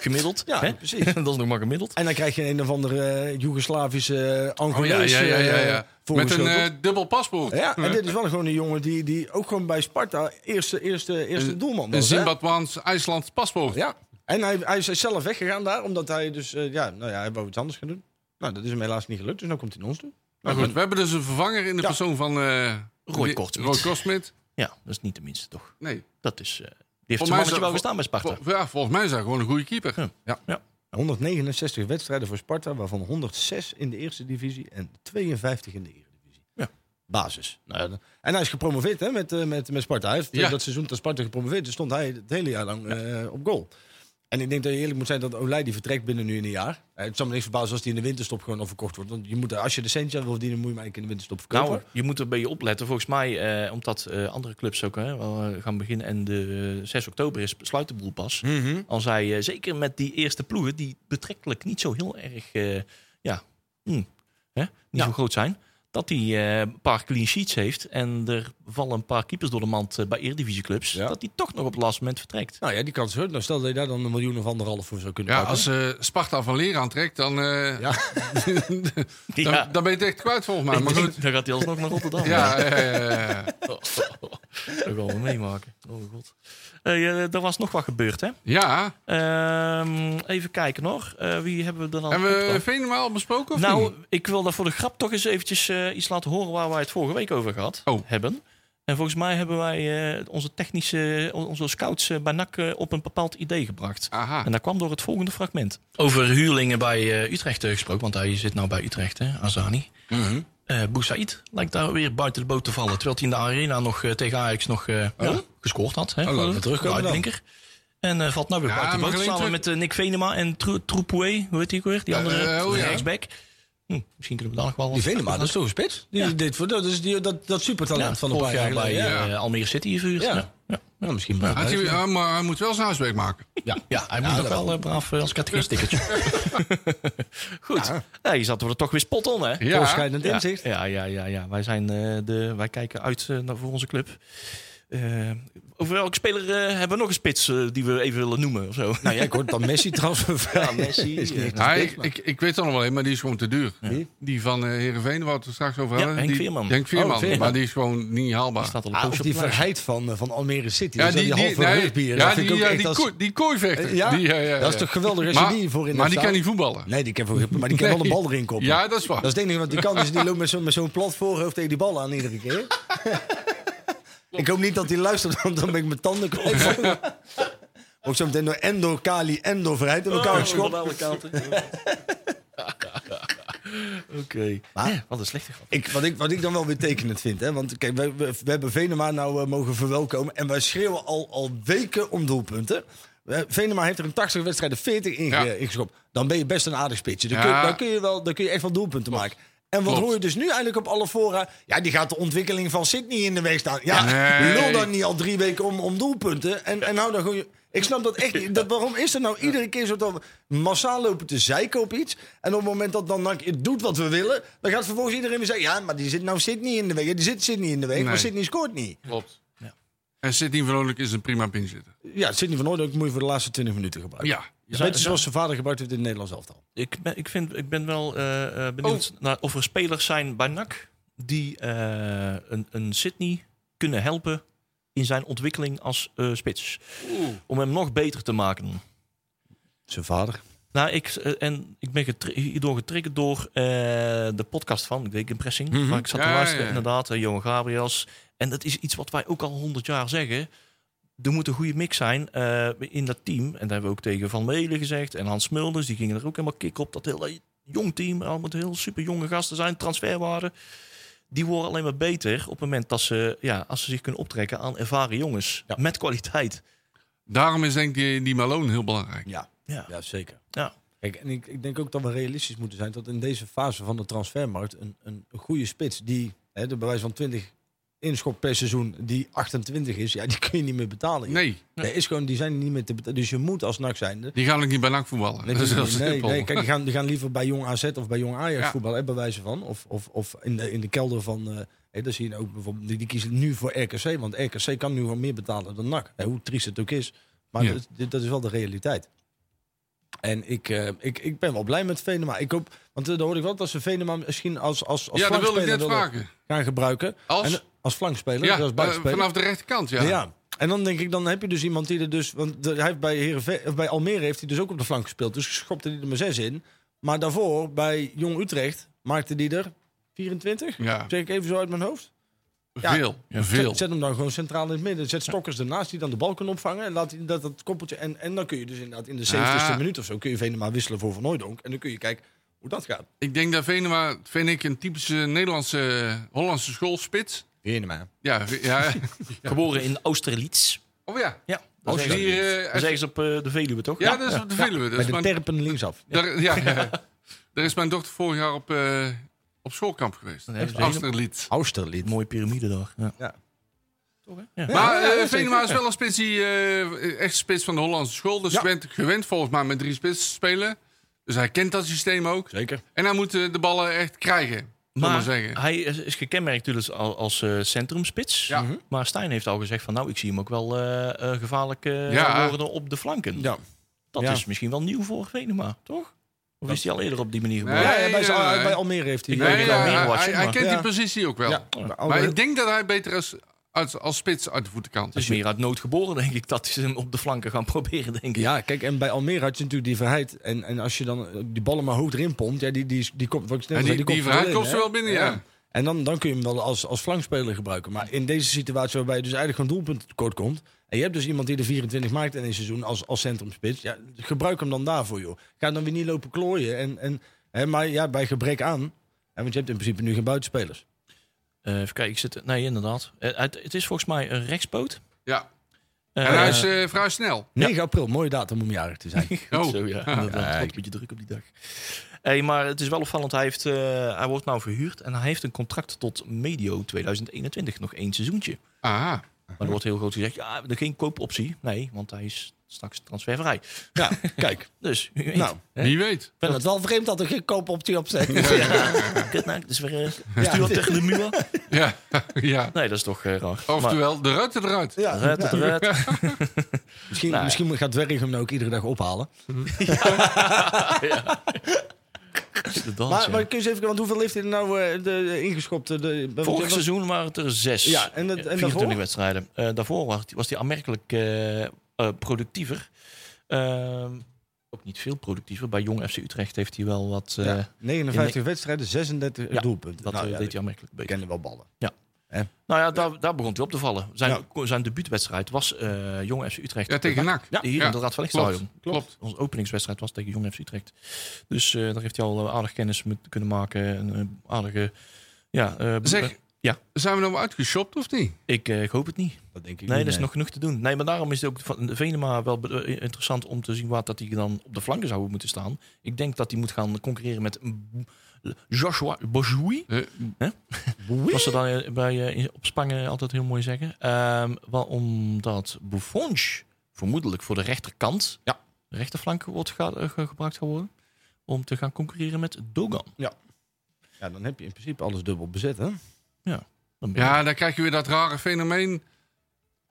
Gemiddeld.
ja
hè?
precies.
*laughs* Dat is nog maar gemiddeld.
En dan krijg je een of andere eh, Joegoslavische uh,
Oh, ja, ja, ja, ja, ja. Met een eh, dubbel paspoort.
Ja, en dit is wel gewoon een jongen die, die ook gewoon bij Sparta eerste, eerste, eerste
Een-
doelman
Een
was. hè?
Zimbabwaans IJslands paspoort.
Ja. En hij, hij is zelf weggegaan daar, omdat hij dus, eh, ja, nou ja, hij wou iets anders gaan doen. Nou, dat is hem helaas niet gelukt, dus nu komt hij naar ons toe. Nou,
Maar goed, we hebben dus een vervanger in de
Ja.
persoon van... eh,
Roy
Wi-
Kortsmit.
Roy Kortsmit.
Ja, dat is niet de minste, toch?
Nee.
Dat is... eh, die heeft
Voor
zijn
mij
mannetje
is-
wel gestaan bij Sparta.
Vol- ja, volgens mij is hij gewoon een goede keeper.
Ja.
Ja.
169 wedstrijden voor Sparta, waarvan 106 in de eerste divisie en 52 in de eredivisie.
Ja.
Basis. Nou, ja, dan- en hij is gepromoveerd hè, met, eh, met, met Sparta. Hij heeft eh,
Ja.
dat seizoen dat Sparta gepromoveerd dus stond hij het hele jaar lang eh, op goal. En ik denk dat je eerlijk moet zijn dat Olij die vertrekt binnen nu in een jaar. Eh, het zou me niks verbazen als die in de winterstop gewoon al verkocht wordt. Want je moet, als je de centje wil verdienen, moet je hem eigenlijk in de winterstop verkopen.
Nou, je moet er bij je opletten. Volgens mij, eh, omdat eh, andere clubs ook hè, wel, eh, gaan beginnen en de eh, 6 oktober is sluit de boel pas.
Mhm.
Als hij, eh, zeker met die eerste ploegen, die betrekkelijk niet zo heel erg, eh, ja, hm, hè, niet zo groot zijn. Dat hij eh, een paar clean sheets heeft en er vallen een paar keepers door de mand eh, bij eredivisieclubs.
Ja.
Dat hij toch nog op het laatste moment vertrekt.
Nou ja, die kans is groot. Nou, stel dat je daar dan een miljoen of anderhalf voor zou kunnen
Ja,
pakken.
als eh, Sparta van leer aantrekt, dan, eh,
Ja.
*laughs* dan,
Ja.
dan ben je het echt kwijt volgens mij.
Ik
Maar
denk,
goed,
dan gaat hij alsnog naar Rotterdam.
ja, eh,
Dat gaan we meemaken. Oh god. Eh, eh, er was nog wat gebeurd, hè?
ja.
Ehm, even kijken nog. Eh, wie hebben we er dan?
Hebben
op
we
dan?
Venema al besproken? Of
nou,
niet?
ik wil daar voor de grap toch eens eventjes eh, iets laten horen waar wij het vorige week over gehad
Oh.
hebben. En volgens mij hebben wij eh, onze technische, onze scouts eh, bij NAC eh, op een bepaald idee gebracht.
Aha.
En dat kwam door het volgende fragment. Ah. Over huurlingen bij eh, Utrecht eh, gesproken, want hij zit nou bij Utrecht, hè, Azani.
Mhm.
Eh, Boussaïd lijkt daar weer buiten de boot te vallen. Terwijl hij in de arena nog eh, tegen Ajax nog eh, ja, gescoord had. Hè,
Oh. laten we
Eh,
terugkomen dan.
uitblinker. En eh, valt nou weer
Ja,
buiten de
maar
boot.
alleen
Samen met eh, Nick Venema en Tro- Troepoué, hoe heet die ook weer? Die
Eh,
andere
eh, oh ja.
rechtsback. Hm, misschien kunnen we daar nog wel wat...
Die Venema, dat is toch een spits? Die, dit, voor- dat is die, dat, dat supertalent
Ja,
van een
vorig
paar
jaar
jaar
bij
geleden.
ja.
eh, Almere City verhuurd.
Ja.
Ja. Ja.
Nou, misschien wel.
Had hij, ah, maar hij moet wel zijn huiswerk maken.
Ja.
Ja, hij moet
Ja,
nog
dat
wel
wel.
eh, braaf eh, als
*laughs*
categorie-stickertje. *laughs* Goed. Ja. je zat er toch weer spot on, hè?
Ja.
Voorschrijdend
Ja,
inzicht.
Ja, ja, ja, ja. Wij, zijn, eh, de, wij kijken uit eh, naar, voor onze club. Eh, Over welke speler eh, hebben we nog een spits eh, die we even willen noemen? Of zo?
Nou ja, ik hoorde dat Messi transfervrij
Ja, Messi,
*laughs* is.
ja.
Niet echt
Ja,
een
ik,
spits, maar-
ik, ik weet het nog wel een, maar die is gewoon te duur.
Wie?
Die van eh Heerenveen, waar we het straks over
Ja,
hadden.
Henk
die,
Veerman.
Henk Veerman,
Oh, Veerman.
maar die is gewoon niet haalbaar.
Die *laughs* staat al een
Ah,
poosje
of
op
die
de lijst.
verheid van, eh, van Almere City.
ja,
die, die, halve
nee,
rugbier.
ja,
dat
die,
vind ik ook
ja,
echt
die,
als-
kooi, die kooivechter.
Ja?
Die, eh, ja,
dat is
ja.
toch geweldig als je
Maar,
die voor in
maar
hebt
die kan
staan?
niet voetballen.
Nee, die kan, voor- maar die kan wel een bal erin koppen.
Ja, dat is waar.
Dat is het enige wat die kan. Is die loopt met zo'n met zo'n plat voorhoofd tegen die bal aan iedere
*laughs*
keer. ik hoop niet dat hij luistert, want dan ben ik mijn tanden kwijt.
*laughs*
Ook zo meteen door en door Kali en door Verheid in
Oh,
elkaar geschopt.
Oké.
Maar-
Ja, wat een slechte grap.
Ik, wat, ik, wat ik dan wel weer tekenend vind. Hè? Want kijk, we, we, we hebben Venema nou eh, mogen verwelkomen. En wij schreeuwen al, al weken om doelpunten. Eh, Venema heeft er in 80 wedstrijden 40 in
Ja.
ge- ingeschopt. Dan ben je best een aardig spitsje. Dan,
Ja.
kun, dan, kun je wel, dan kun je echt wel doelpunten maken. En wat
Klopt.
hoor je dus nu eigenlijk op alle fora? Ja, die gaat de ontwikkeling van Sydney in de weg staan. Ja,
Nee.
lul dan niet al drie weken om, om doelpunten. En, en hou dan gewoon... je- Ik snap dat echt niet. Dat, waarom is er nou iedere keer zo dat we massaal lopen te zeiken op iets? En op het moment dat dan NAC het doet wat we willen... dan gaat vervolgens iedereen weer zeggen... ja, maar die zit nou Sydney in de weg. Ja, die zit Sydney in de weg,
Nee.
maar Sydney scoort niet.
Klopt.
Ja.
En Sidney Vrolijk is een prima pinzitter.
Ja, Sydney van Noordijk moet je voor de laatste 20 minuten gebruiken.
Ja.
Dat is Net zoals zijn vader gebruikt heeft in het Nederlands elftal.
Ik ben, ik vind, ik ben wel eh, eh, benieuwd naar of er spelers zijn bij NAC die eh, een, een Sydney kunnen helpen in zijn ontwikkeling als eh, spits. Om hem nog beter te maken.
Zijn vader.
Nou, ik, eh, en ik ben getri- hierdoor getriggerd door eh, de podcast van Week Impressing. Waar ik zat te
Mhm. Ja,
luisteren,
ja, ja.
inderdaad, eh, Johan Gabriels. En dat is iets wat wij ook al honderd jaar zeggen. Er moet een goede mix zijn eh, in dat team. En daar hebben we ook tegen Van Meulen gezegd. En Hans Mulders, die gingen er ook helemaal kick op. Dat hele jong team, allemaal heel super jonge gasten zijn. Transferwaarde. Die worden alleen maar beter op het moment dat ze, ja, als ze zich kunnen optrekken aan ervaren jongens.
Ja.
Met kwaliteit.
Daarom is denk ik die, die Malone heel belangrijk.
Ja,
Ja.
ja zeker.
Ja.
Kijk, en ik, ik denk ook dat we realistisch moeten zijn dat in deze fase van de transfermarkt een, een goede spits die hè, de bewijs van 20 inschop per seizoen die 28 is, ja, die kun je niet meer betalen. joh.
Nee,
Nee, is gewoon, die zijn niet meer te betalen. Dus je moet als NAC zijnde.
die gaan ook niet bij NAC voetballen.
Nee,
dat is heel
nee, nee,
simpel.
kijk, die gaan, die gaan liever bij Jong AZ of bij Jong Ajax
Ja.
voetballen, hè, bij wijze van. Of, of, of in, de, in de kelder van. eh hè, daar zie je ook bijvoorbeeld, die, die kiezen nu voor RKC, want RKC kan nu gewoon meer betalen dan NAC. Hè, hoe triest het ook is. Maar
Ja.
dat, dit- dat is wel de realiteit. En ik, eh, ik, ik ben wel blij met Venema. Ik hoop, want eh, dan hoor ik wel dat ze Venema misschien als, als, als
ja, dat wil ik
flankspeler
net
willen
vragen.
gaan gebruiken.
Als?
En, eh, als flankspeler,
Ja,
dus als
eh,
buitenspeler.
vanaf de rechterkant, ja.
Ja. En dan denk ik, dan heb je dus iemand die er dus... Want de- hij heeft bij, Heerenve- of bij Almere heeft hij dus ook op de flank gespeeld. Dus schopte hij er maar zes in. Maar daarvoor, bij Jong Utrecht, maakte hij er 24.
Ja,
Zeg ik even zo uit mijn hoofd. Ja.
veel. veel.
Zet, zet hem dan gewoon centraal in het midden. Zet stokkers ernaast die dan de bal kunnen opvangen. En laat hij dat, dat koppeltje... En, en dan kun je dus inderdaad in de 70ste
Ah.
minuut of zo... kun je Venema wisselen voor Van Hooijdonk. En dan kun je kijken hoe dat gaat.
Ik denk dat Venema, vind ik, een typische Nederlandse, eh, Hollandse schoolspits.
Venema.
Ja, ve-
*laughs*
ja.
Geboren in Austerlitz.
Oh ja.
Ja, dat
Als
zeggen
je hier,
ze.
eh,
Dat
als-
zeggen ze op eh, de Veluwe, toch?
Ja, dat is op de Veluwe. Dus,
Bij de
maar
terpen linksaf.
daar, ja, ja. daar is mijn dochter vorig jaar op, eh, op schoolkamp geweest.
Dan hebben ze
Afsterlied.
Austerlid.
Mooie piramide daar. Ja.
Ja.
Toch, hè? Ja.
Maar
Ja,
eh,
ja,
Venema is wel een spits die eh, echt spits van de Hollandse school. Dus
Ja.
gewend, gewend volgens mij met drie spitsen te spelen. Dus hij kent dat systeem ook.
Zeker.
En hij moet eh, de ballen echt krijgen. Maar, maar
Maar
zeggen.
hij is, is gekenmerkt natuurlijk als, als eh, centrumspits. Mhm.
Ja.
Maar Stijn heeft al gezegd van nou, ik zie hem ook wel eh, eh, gevaarlijk eh,
Ja.
worden op de flanken.
Ja.
Dat
Ja.
is misschien wel nieuw voor Venema, toch? Of is hij al eerder op die manier geboren?
Nee,
Ja, ja, bij,
nee, nee.
bij Almere heeft hij...
Ik
Nee,
weet
ja,
wel meer
hij,
wat,
hij-
zeg
hij
maar.
kent die
Ja.
positie ook wel.
Ja, Oh,
Maar ik denk dat hij beter als, als, als spits uit de voeten kan.
Het is Dus meer uit nood geboren, denk ik, dat ze hem op de flanken gaan *laughs* proberen, denk ik.
Ja, kijk, en bij Almere had je natuurlijk die verheid. En, en als je dan eh, die ballen maar hoog erin pompt, ja, die, die, die komt. Wat ik net
Ja,
al zei,
die- die
komt
verheid
erin,
komt ze
hè?
wel binnen, ja.
En dan, dan kun je hem wel als, als flankspeler gebruiken. Maar in deze situatie waarbij je dus eigenlijk gewoon doelpunten tekort komt. En je hebt dus iemand die de 24 maakt in een seizoen als, als centrumspits. Ja, gebruik hem dan daarvoor, joh. Ga dan weer niet lopen klooien. En, en, hè, maar ja, bij gebrek aan. hè, want je hebt in principe nu geen buitenspelers.
Eh, even kijken, ik zit... Nee, inderdaad. Eh, het, het is volgens mij een rechtspoot.
Ja.
Eh,
En hij is eh, vrij snel.
9 april, mooie datum om jarig te *laughs* zijn.
*laughs* Oh.
Zo ja, inderdaad.
Ah,
Het wordt een beetje druk op die dag. Hey, maar het is wel opvallend. Hij, heeft, eh, hij wordt nou verhuurd en hij heeft een contract tot medio 2021. Nog één seizoentje.
Aha.
Maar er wordt heel groot gezegd, ja, er geen koopoptie. Nee, want hij is straks transfervrij.
Ja, kijk.
Dus, *laughs* wie weet.
Nou,
Hè?
Wie weet. *laughs*
Ik vind het wel vreemd dat er geen koopoptie op staat.
Ja, kutnaak, dus weer eh, stuur op tegen de muur.
Ja, ja.
Nee, dat is toch eh, raar. Maar-
Oftewel, de ruiten eruit.
*laughs* Ja,
Red,
ja.
red.
Misschien,
Nou ja.
misschien gaat Dwerg hem nou ook iedere dag ophalen.
De dans,
Maar,
ja.
maar kun je eens even, want hoeveel heeft hij er nou eh, de, de ingeschopt? eh, De, bij-
Vorig
wat-
seizoen waren het er zes.
Ja, en dat- en
24
daarvoor?
wedstrijden. Eh, daarvoor was- was hij aanmerkelijk eh, eh, productiever. Ehm, ook niet veel productiever. Bij jong FC Utrecht heeft hij wel wat... eh,
Ja, 59 wedstrijden, 36
Ja,
doelpunten.
Dat
Nou
eh,
ja,
deed hij aanmerkelijk
ik
beter.
kende wel ballen.
Nou ja, daar, daar begon hij op te vallen. Zijn,
Ja.
zijn debuutwedstrijd was eh, jong FC Utrecht.
Ja, tegen NAC.
Ja, hier
Ja,
in de Raad van
Klopt,
Lichtstadion.
klopt.
Onze openingswedstrijd was tegen Jong FC Utrecht. Dus eh, daar heeft hij al eh, aardig kennis mee kunnen maken. En eh, aardige... Ja, eh,
Zeg,
Ja.
zijn we nou uitgeshopt of niet?
ik, eh, ik hoop het niet.
Dat denk ik
Nee, dat is nog genoeg te doen. Nee, maar daarom is het ook van Venema wel be- eh, interessant om te zien waar dat hij dan op de flanken zou moeten staan. Ik denk dat hij moet gaan concurreren met een B- Joshua Bojoui.
Eh,
Zoals ze dan eh, bij, eh, in- op Spangen altijd heel mooi zeggen. Ehm wel omdat Buffonge vermoedelijk voor de rechterkant, ja. de rechterflank, wordt ga- eh, ge- gebruikt gaan worden. Om te gaan concurreren met Dogan.
Ja, dan heb je in principe alles dubbel bezet, hè?
Dan ben je-
Ja, dan krijg je weer dat rare fenomeen.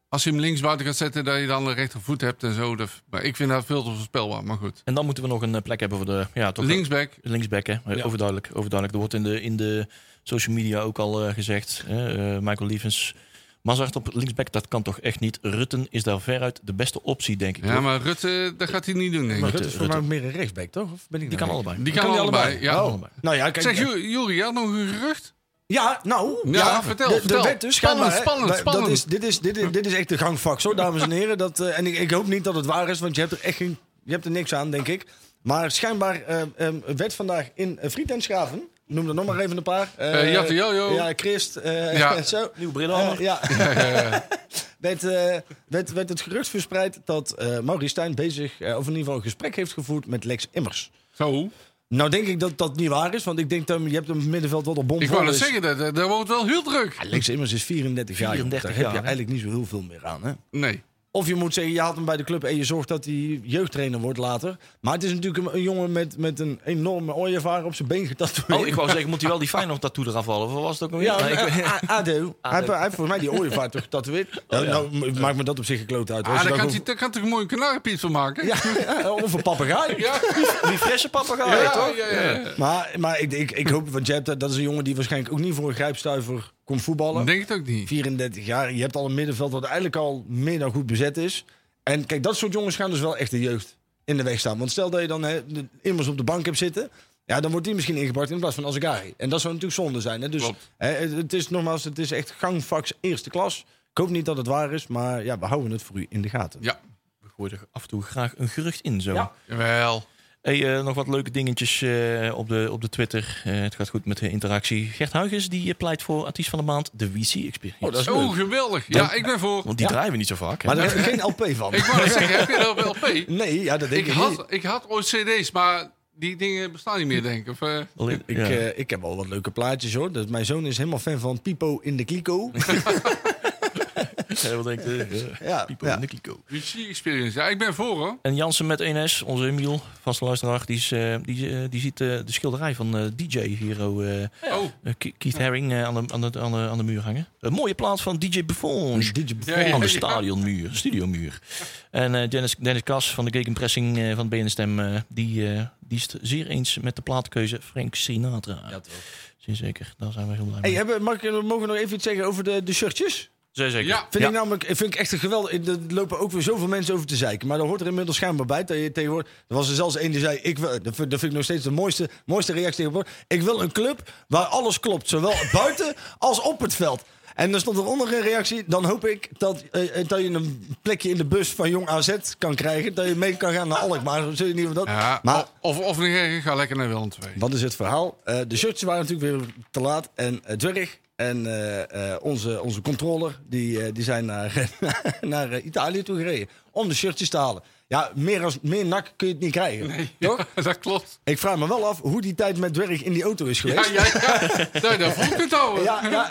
Als je hem links buiten gaat zetten, dat je dan een rechtervoet hebt en zo. Dat- maar ik vind dat veel te voorspelbaar, maar goed.
En dan moeten we nog een eh, plek hebben voor de... Ja, toch
Linksback,
Linksback, hè? Eh,
Ja.
Overduidelijk, overduidelijk. Er wordt in de, in de social media ook al eh, gezegd. Hè? eh, Michael Lievens. Mazart op linksback, dat kan toch echt niet? Rutten is daar veruit de beste optie, denk ik.
Ja,
toch?
maar Rutte, dat gaat hij niet doen, denk
Maar
ik.
Dat is voor
Rutte.
mij ook meer een rechtsback, toch? Of ben ik nou
Die kan
gek?
allebei.
Die
Kan
kan
die
allebei,
allebei?
ja.
Oh.
Nou ja, kijk.
Zeg, Ju- Juri, je had nog een gerucht?
Ja, nou.
Ja, vertel,
de,
vertel.
De wet dus,
Spannend,
schijnbaar, hè.
spannend,
Dat-
spannend.
Dat is, dit, is, dit, is, dit is echt de gangvak, zo, dames en heren. Dat, eh, en ik, ik hoop niet dat het waar is, want je hebt er echt geen, je hebt er niks aan, denk ik. Maar schijnbaar eh, ehm, werd vandaag in eh, Friet en Schaven, noem er nog maar even een paar. eh,
Eh, Jatte Jojo.
Ja, Christ. eh, *laughs*
Ja.
zo.
Nieuwe bril
Eh,
*laughs*
ja. *laughs* werd, eh, werd, werd het gerucht verspreid dat eh Maurice Stijn bezig, eh, of in ieder geval een gesprek heeft gevoerd met Lex Immers.
Zo.
Nou denk ik dat dat niet waar is, want ik denk dat je hebt een middenveld wat op bom
Ik wou dat zeggen, dat, dat, dat wordt wel heel druk.
ja, Lex Immers is 34 jaar. joh.
34
Daar heb je
jaar, hè?
eigenlijk niet zo heel veel meer aan. Hè?
Nee.
Of je moet zeggen, je haalt hem bij de club en je zorgt dat hij jeugdtrainer wordt later. Maar het is natuurlijk een, een jongen met, met een enorme ooievaar op zijn been getatoeëerd.
Oh, ik wou zeggen, moet hij wel die Feyenoord tattoo eraf halen? Of was het ook een
Ja,
ik,
maar, A- ADO. Hij heeft,
ADO.
hij heeft volgens mij die ooievaar toch getatoeëerd. Nou, nou, maakt me dat op zich gekloot uit. hoor.
Ah,
Als je
daar
dat
kan, hij, daar kan toch een mooie kanarenpiet van maken? Ja.
gewoon- Ja, of een papegaai.
Ja,
die frisse
ja,
papegaai,
ja,
toch?
ja.
Maar, maar ik, ik, ik hoop, want je hebt, dat is een jongen die waarschijnlijk ook niet voor een grijpstuiver komt voetballen.
Ik Denk het ook niet.
34 jaar. Je hebt al een middenveld wat eigenlijk al meer dan goed bezet is. En kijk, dat soort jongens gaan dus wel echt de jeugd in de weg staan. Want stel dat je dan hè, de- immers op de bank hebt zitten. Ja, dan wordt die misschien ingebracht in plaats van Azagari. En dat zou natuurlijk zonde zijn. Hè? Dus
Klopt.
hè, het het is nogmaals, het is echt gangvaks eerste klas. Ik hoop niet dat het waar is, maar ja, we houden het voor u in de gaten.
Ja,
We gooien er af en toe graag een gerucht in, zo.
Ja.
jawel.
Hey, eh, nog wat leuke dingetjes eh, op, de, op de Twitter. Eh, het gaat goed met de interactie. Gert Huygens die eh, pleit voor artiest van de maand, de WC-experience.
Oh, dat is leuk.
Oh, geweldig. Ja, ik ben voor.
Want die
Ja.
draaien we niet zo vaak. hè?
Maar daar heb ik geen LP van.
Ik wou net zeggen, heb je dat op LP?
Nee, ja, dat *laughs* denk
Ik
ik, niet.
had, ik had ooit cd's, maar die dingen bestaan niet meer, denk ik. Of, eh,
Alleen-
Ik,
ja.
eh, ik heb wel wat leuke plaatjes hoor. Dat, mijn zoon is helemaal fan van Pipo in de *laughs* Kliko.
Ja, *laughs* wat denkt eh, eh,
*laughs* Ja,
Pipo
ja.
Nikico.
UC Experience. Ja, ik ben voor, hoor.
En Jansen met 1S, onze Emiel, vaste luisteraar, die, is, eh, die, eh, die ziet eh, de schilderij van eh, DJ Hero eh, eh,
Oh,
Ke- Keith Haring eh, aan, de, aan, de, aan, de, aan de muur hangen. Een mooie plaat van DJ Buffon.
DJ
Ja, ja,
Aan de
ja.
stadionmuur, studiomuur. En eh, Dennis, Dennis Kas van de Gegenpressing eh, van BNSTEM, eh die, eh, die is het zeer eens met de plaatkeuze Frank Sinatra. Ja, toch. Zeker, daar zijn we heel blij
Hey,
mee.
hebben, mag ik, mogen we nog even iets zeggen over de, de shirtjes?
Zeer zeker.
ja.
Vind ik namelijk vind ik echt een geweldig. Er lopen ook weer zoveel mensen over te zeiken. Maar daar hoort er inmiddels schijnbaar bij. Dat je tegenwoordig, er was er zelfs één die zei: ik wil, dat vind dat vind ik nog steeds de mooiste, mooiste reactie tegenwoordig. Ik wil een club waar alles klopt. Zowel *laughs* buiten als op het veld. En er stond eronder een reactie. Dan hoop ik dat, eh, dat je een plekje in de bus van jong AZ kan krijgen. Dat je mee kan gaan naar Alkmaar. Zul je niet van dat.
Ja,
maar
Oh, of, of nog erger, ga lekker naar Willem 2.
Wat is het verhaal? Eh, de shirtjes waren natuurlijk weer te laat. En eh, Dwerg en eh, eh, onze, onze controller, die, eh, die zijn naar, *laughs* naar eh, Italië toe gereden. Om de shirtjes te halen. Ja, meer, als, meer nak kun je het niet krijgen. *laughs* Toch?
*laughs* dat klopt.
Ik vraag me wel af hoe die tijd met Dwerg in die auto is
Ja,
geweest.
ja, ja. Nee, dat voel ik het al. hoor.
ja, ja.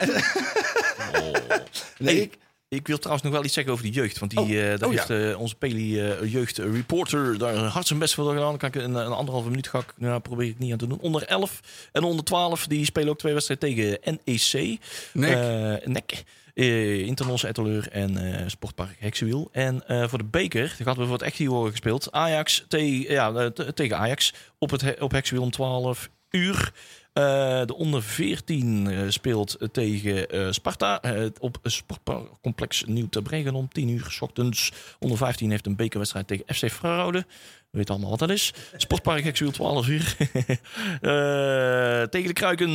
nee, ik,
Ik wil trouwens nog wel iets zeggen over die jeugd. Want die,
Oh.
eh, daar
Oh, ja.
heeft eh, onze Peli eh jeugd reporter daar hard zijn best voor gedaan. Dan kan ik een, een anderhalve minuut ga ik, nou, probeer ik niet aan te doen. Onder 11 en onder 12, die spelen ook twee wedstrijden tegen NEC.
Nek.
Eh, NEC. eh Internos Etteleur en eh, Sportpark Heksenwiel. En eh, voor de beker, daar hadden we voor het echt hier horen gespeeld. Ajax te- ja, eh, te- tegen Ajax op, het, he- op Heksenwiel om 12 uur. Eh, de onder 14 eh, speelt tegen eh, Sparta eh, op Sportcomplex Nieuw te Bregen om 10 uur 's ochtends. Onder 15 heeft een bekerwedstrijd tegen FC Fraude. We weten allemaal wat dat is. Sportpark Hexwiel 12 uur. *laughs* Eh, tegen de Kruiken,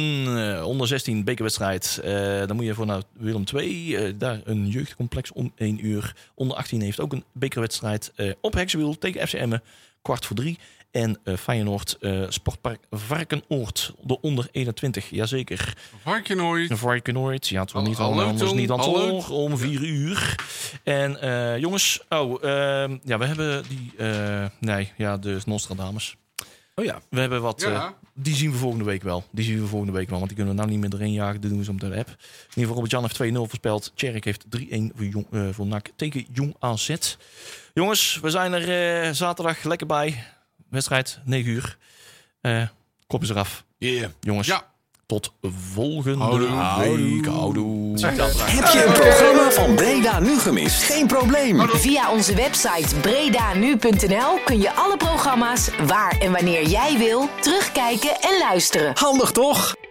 eh, onder 16 bekerwedstrijd. Eh, dan moet je voor naar Willem 2. daar een jeugdcomplex om 1 uur. Onder 18 heeft ook een bekerwedstrijd eh, op Hexwiel tegen FC Emmen. Kwart voor drie. En eh, Feyenoord, eh, Sportpark Varkenoord, de onder 21. Jazeker.
Vark je nooit.
Een varkenoord. Ja, het was
Al-
niet allemaal
alert,
anders.
jong,
Niet aan
alert.
toch om vier uur. En eh, jongens, oh, ehm, ja, we hebben die, eh, nee, ja, de Nostradamus.
Oh ja.
We hebben wat,
Ja.
eh, die zien we volgende week wel. Die zien we volgende week wel, want die kunnen we nou niet meer erin jagen. Dat doen ze op de app. In ieder geval, Robert-Jan heeft 2-0 voorspeld. Tjerk heeft 3-1 voor, jong, eh, voor NAC tegen Jong AZ. Jongens, we zijn er eh, zaterdag lekker bij. Wedstrijd, 9 uur. Eh kop is eraf. Jongens,
Ja.
tot volgende week. Houdoe.
Heb je een programma van Breda nu gemist? Geen probleem.
Via onze website bredanu.nl kun je alle programma's waar en wanneer jij wil terugkijken en luisteren.
Handig toch?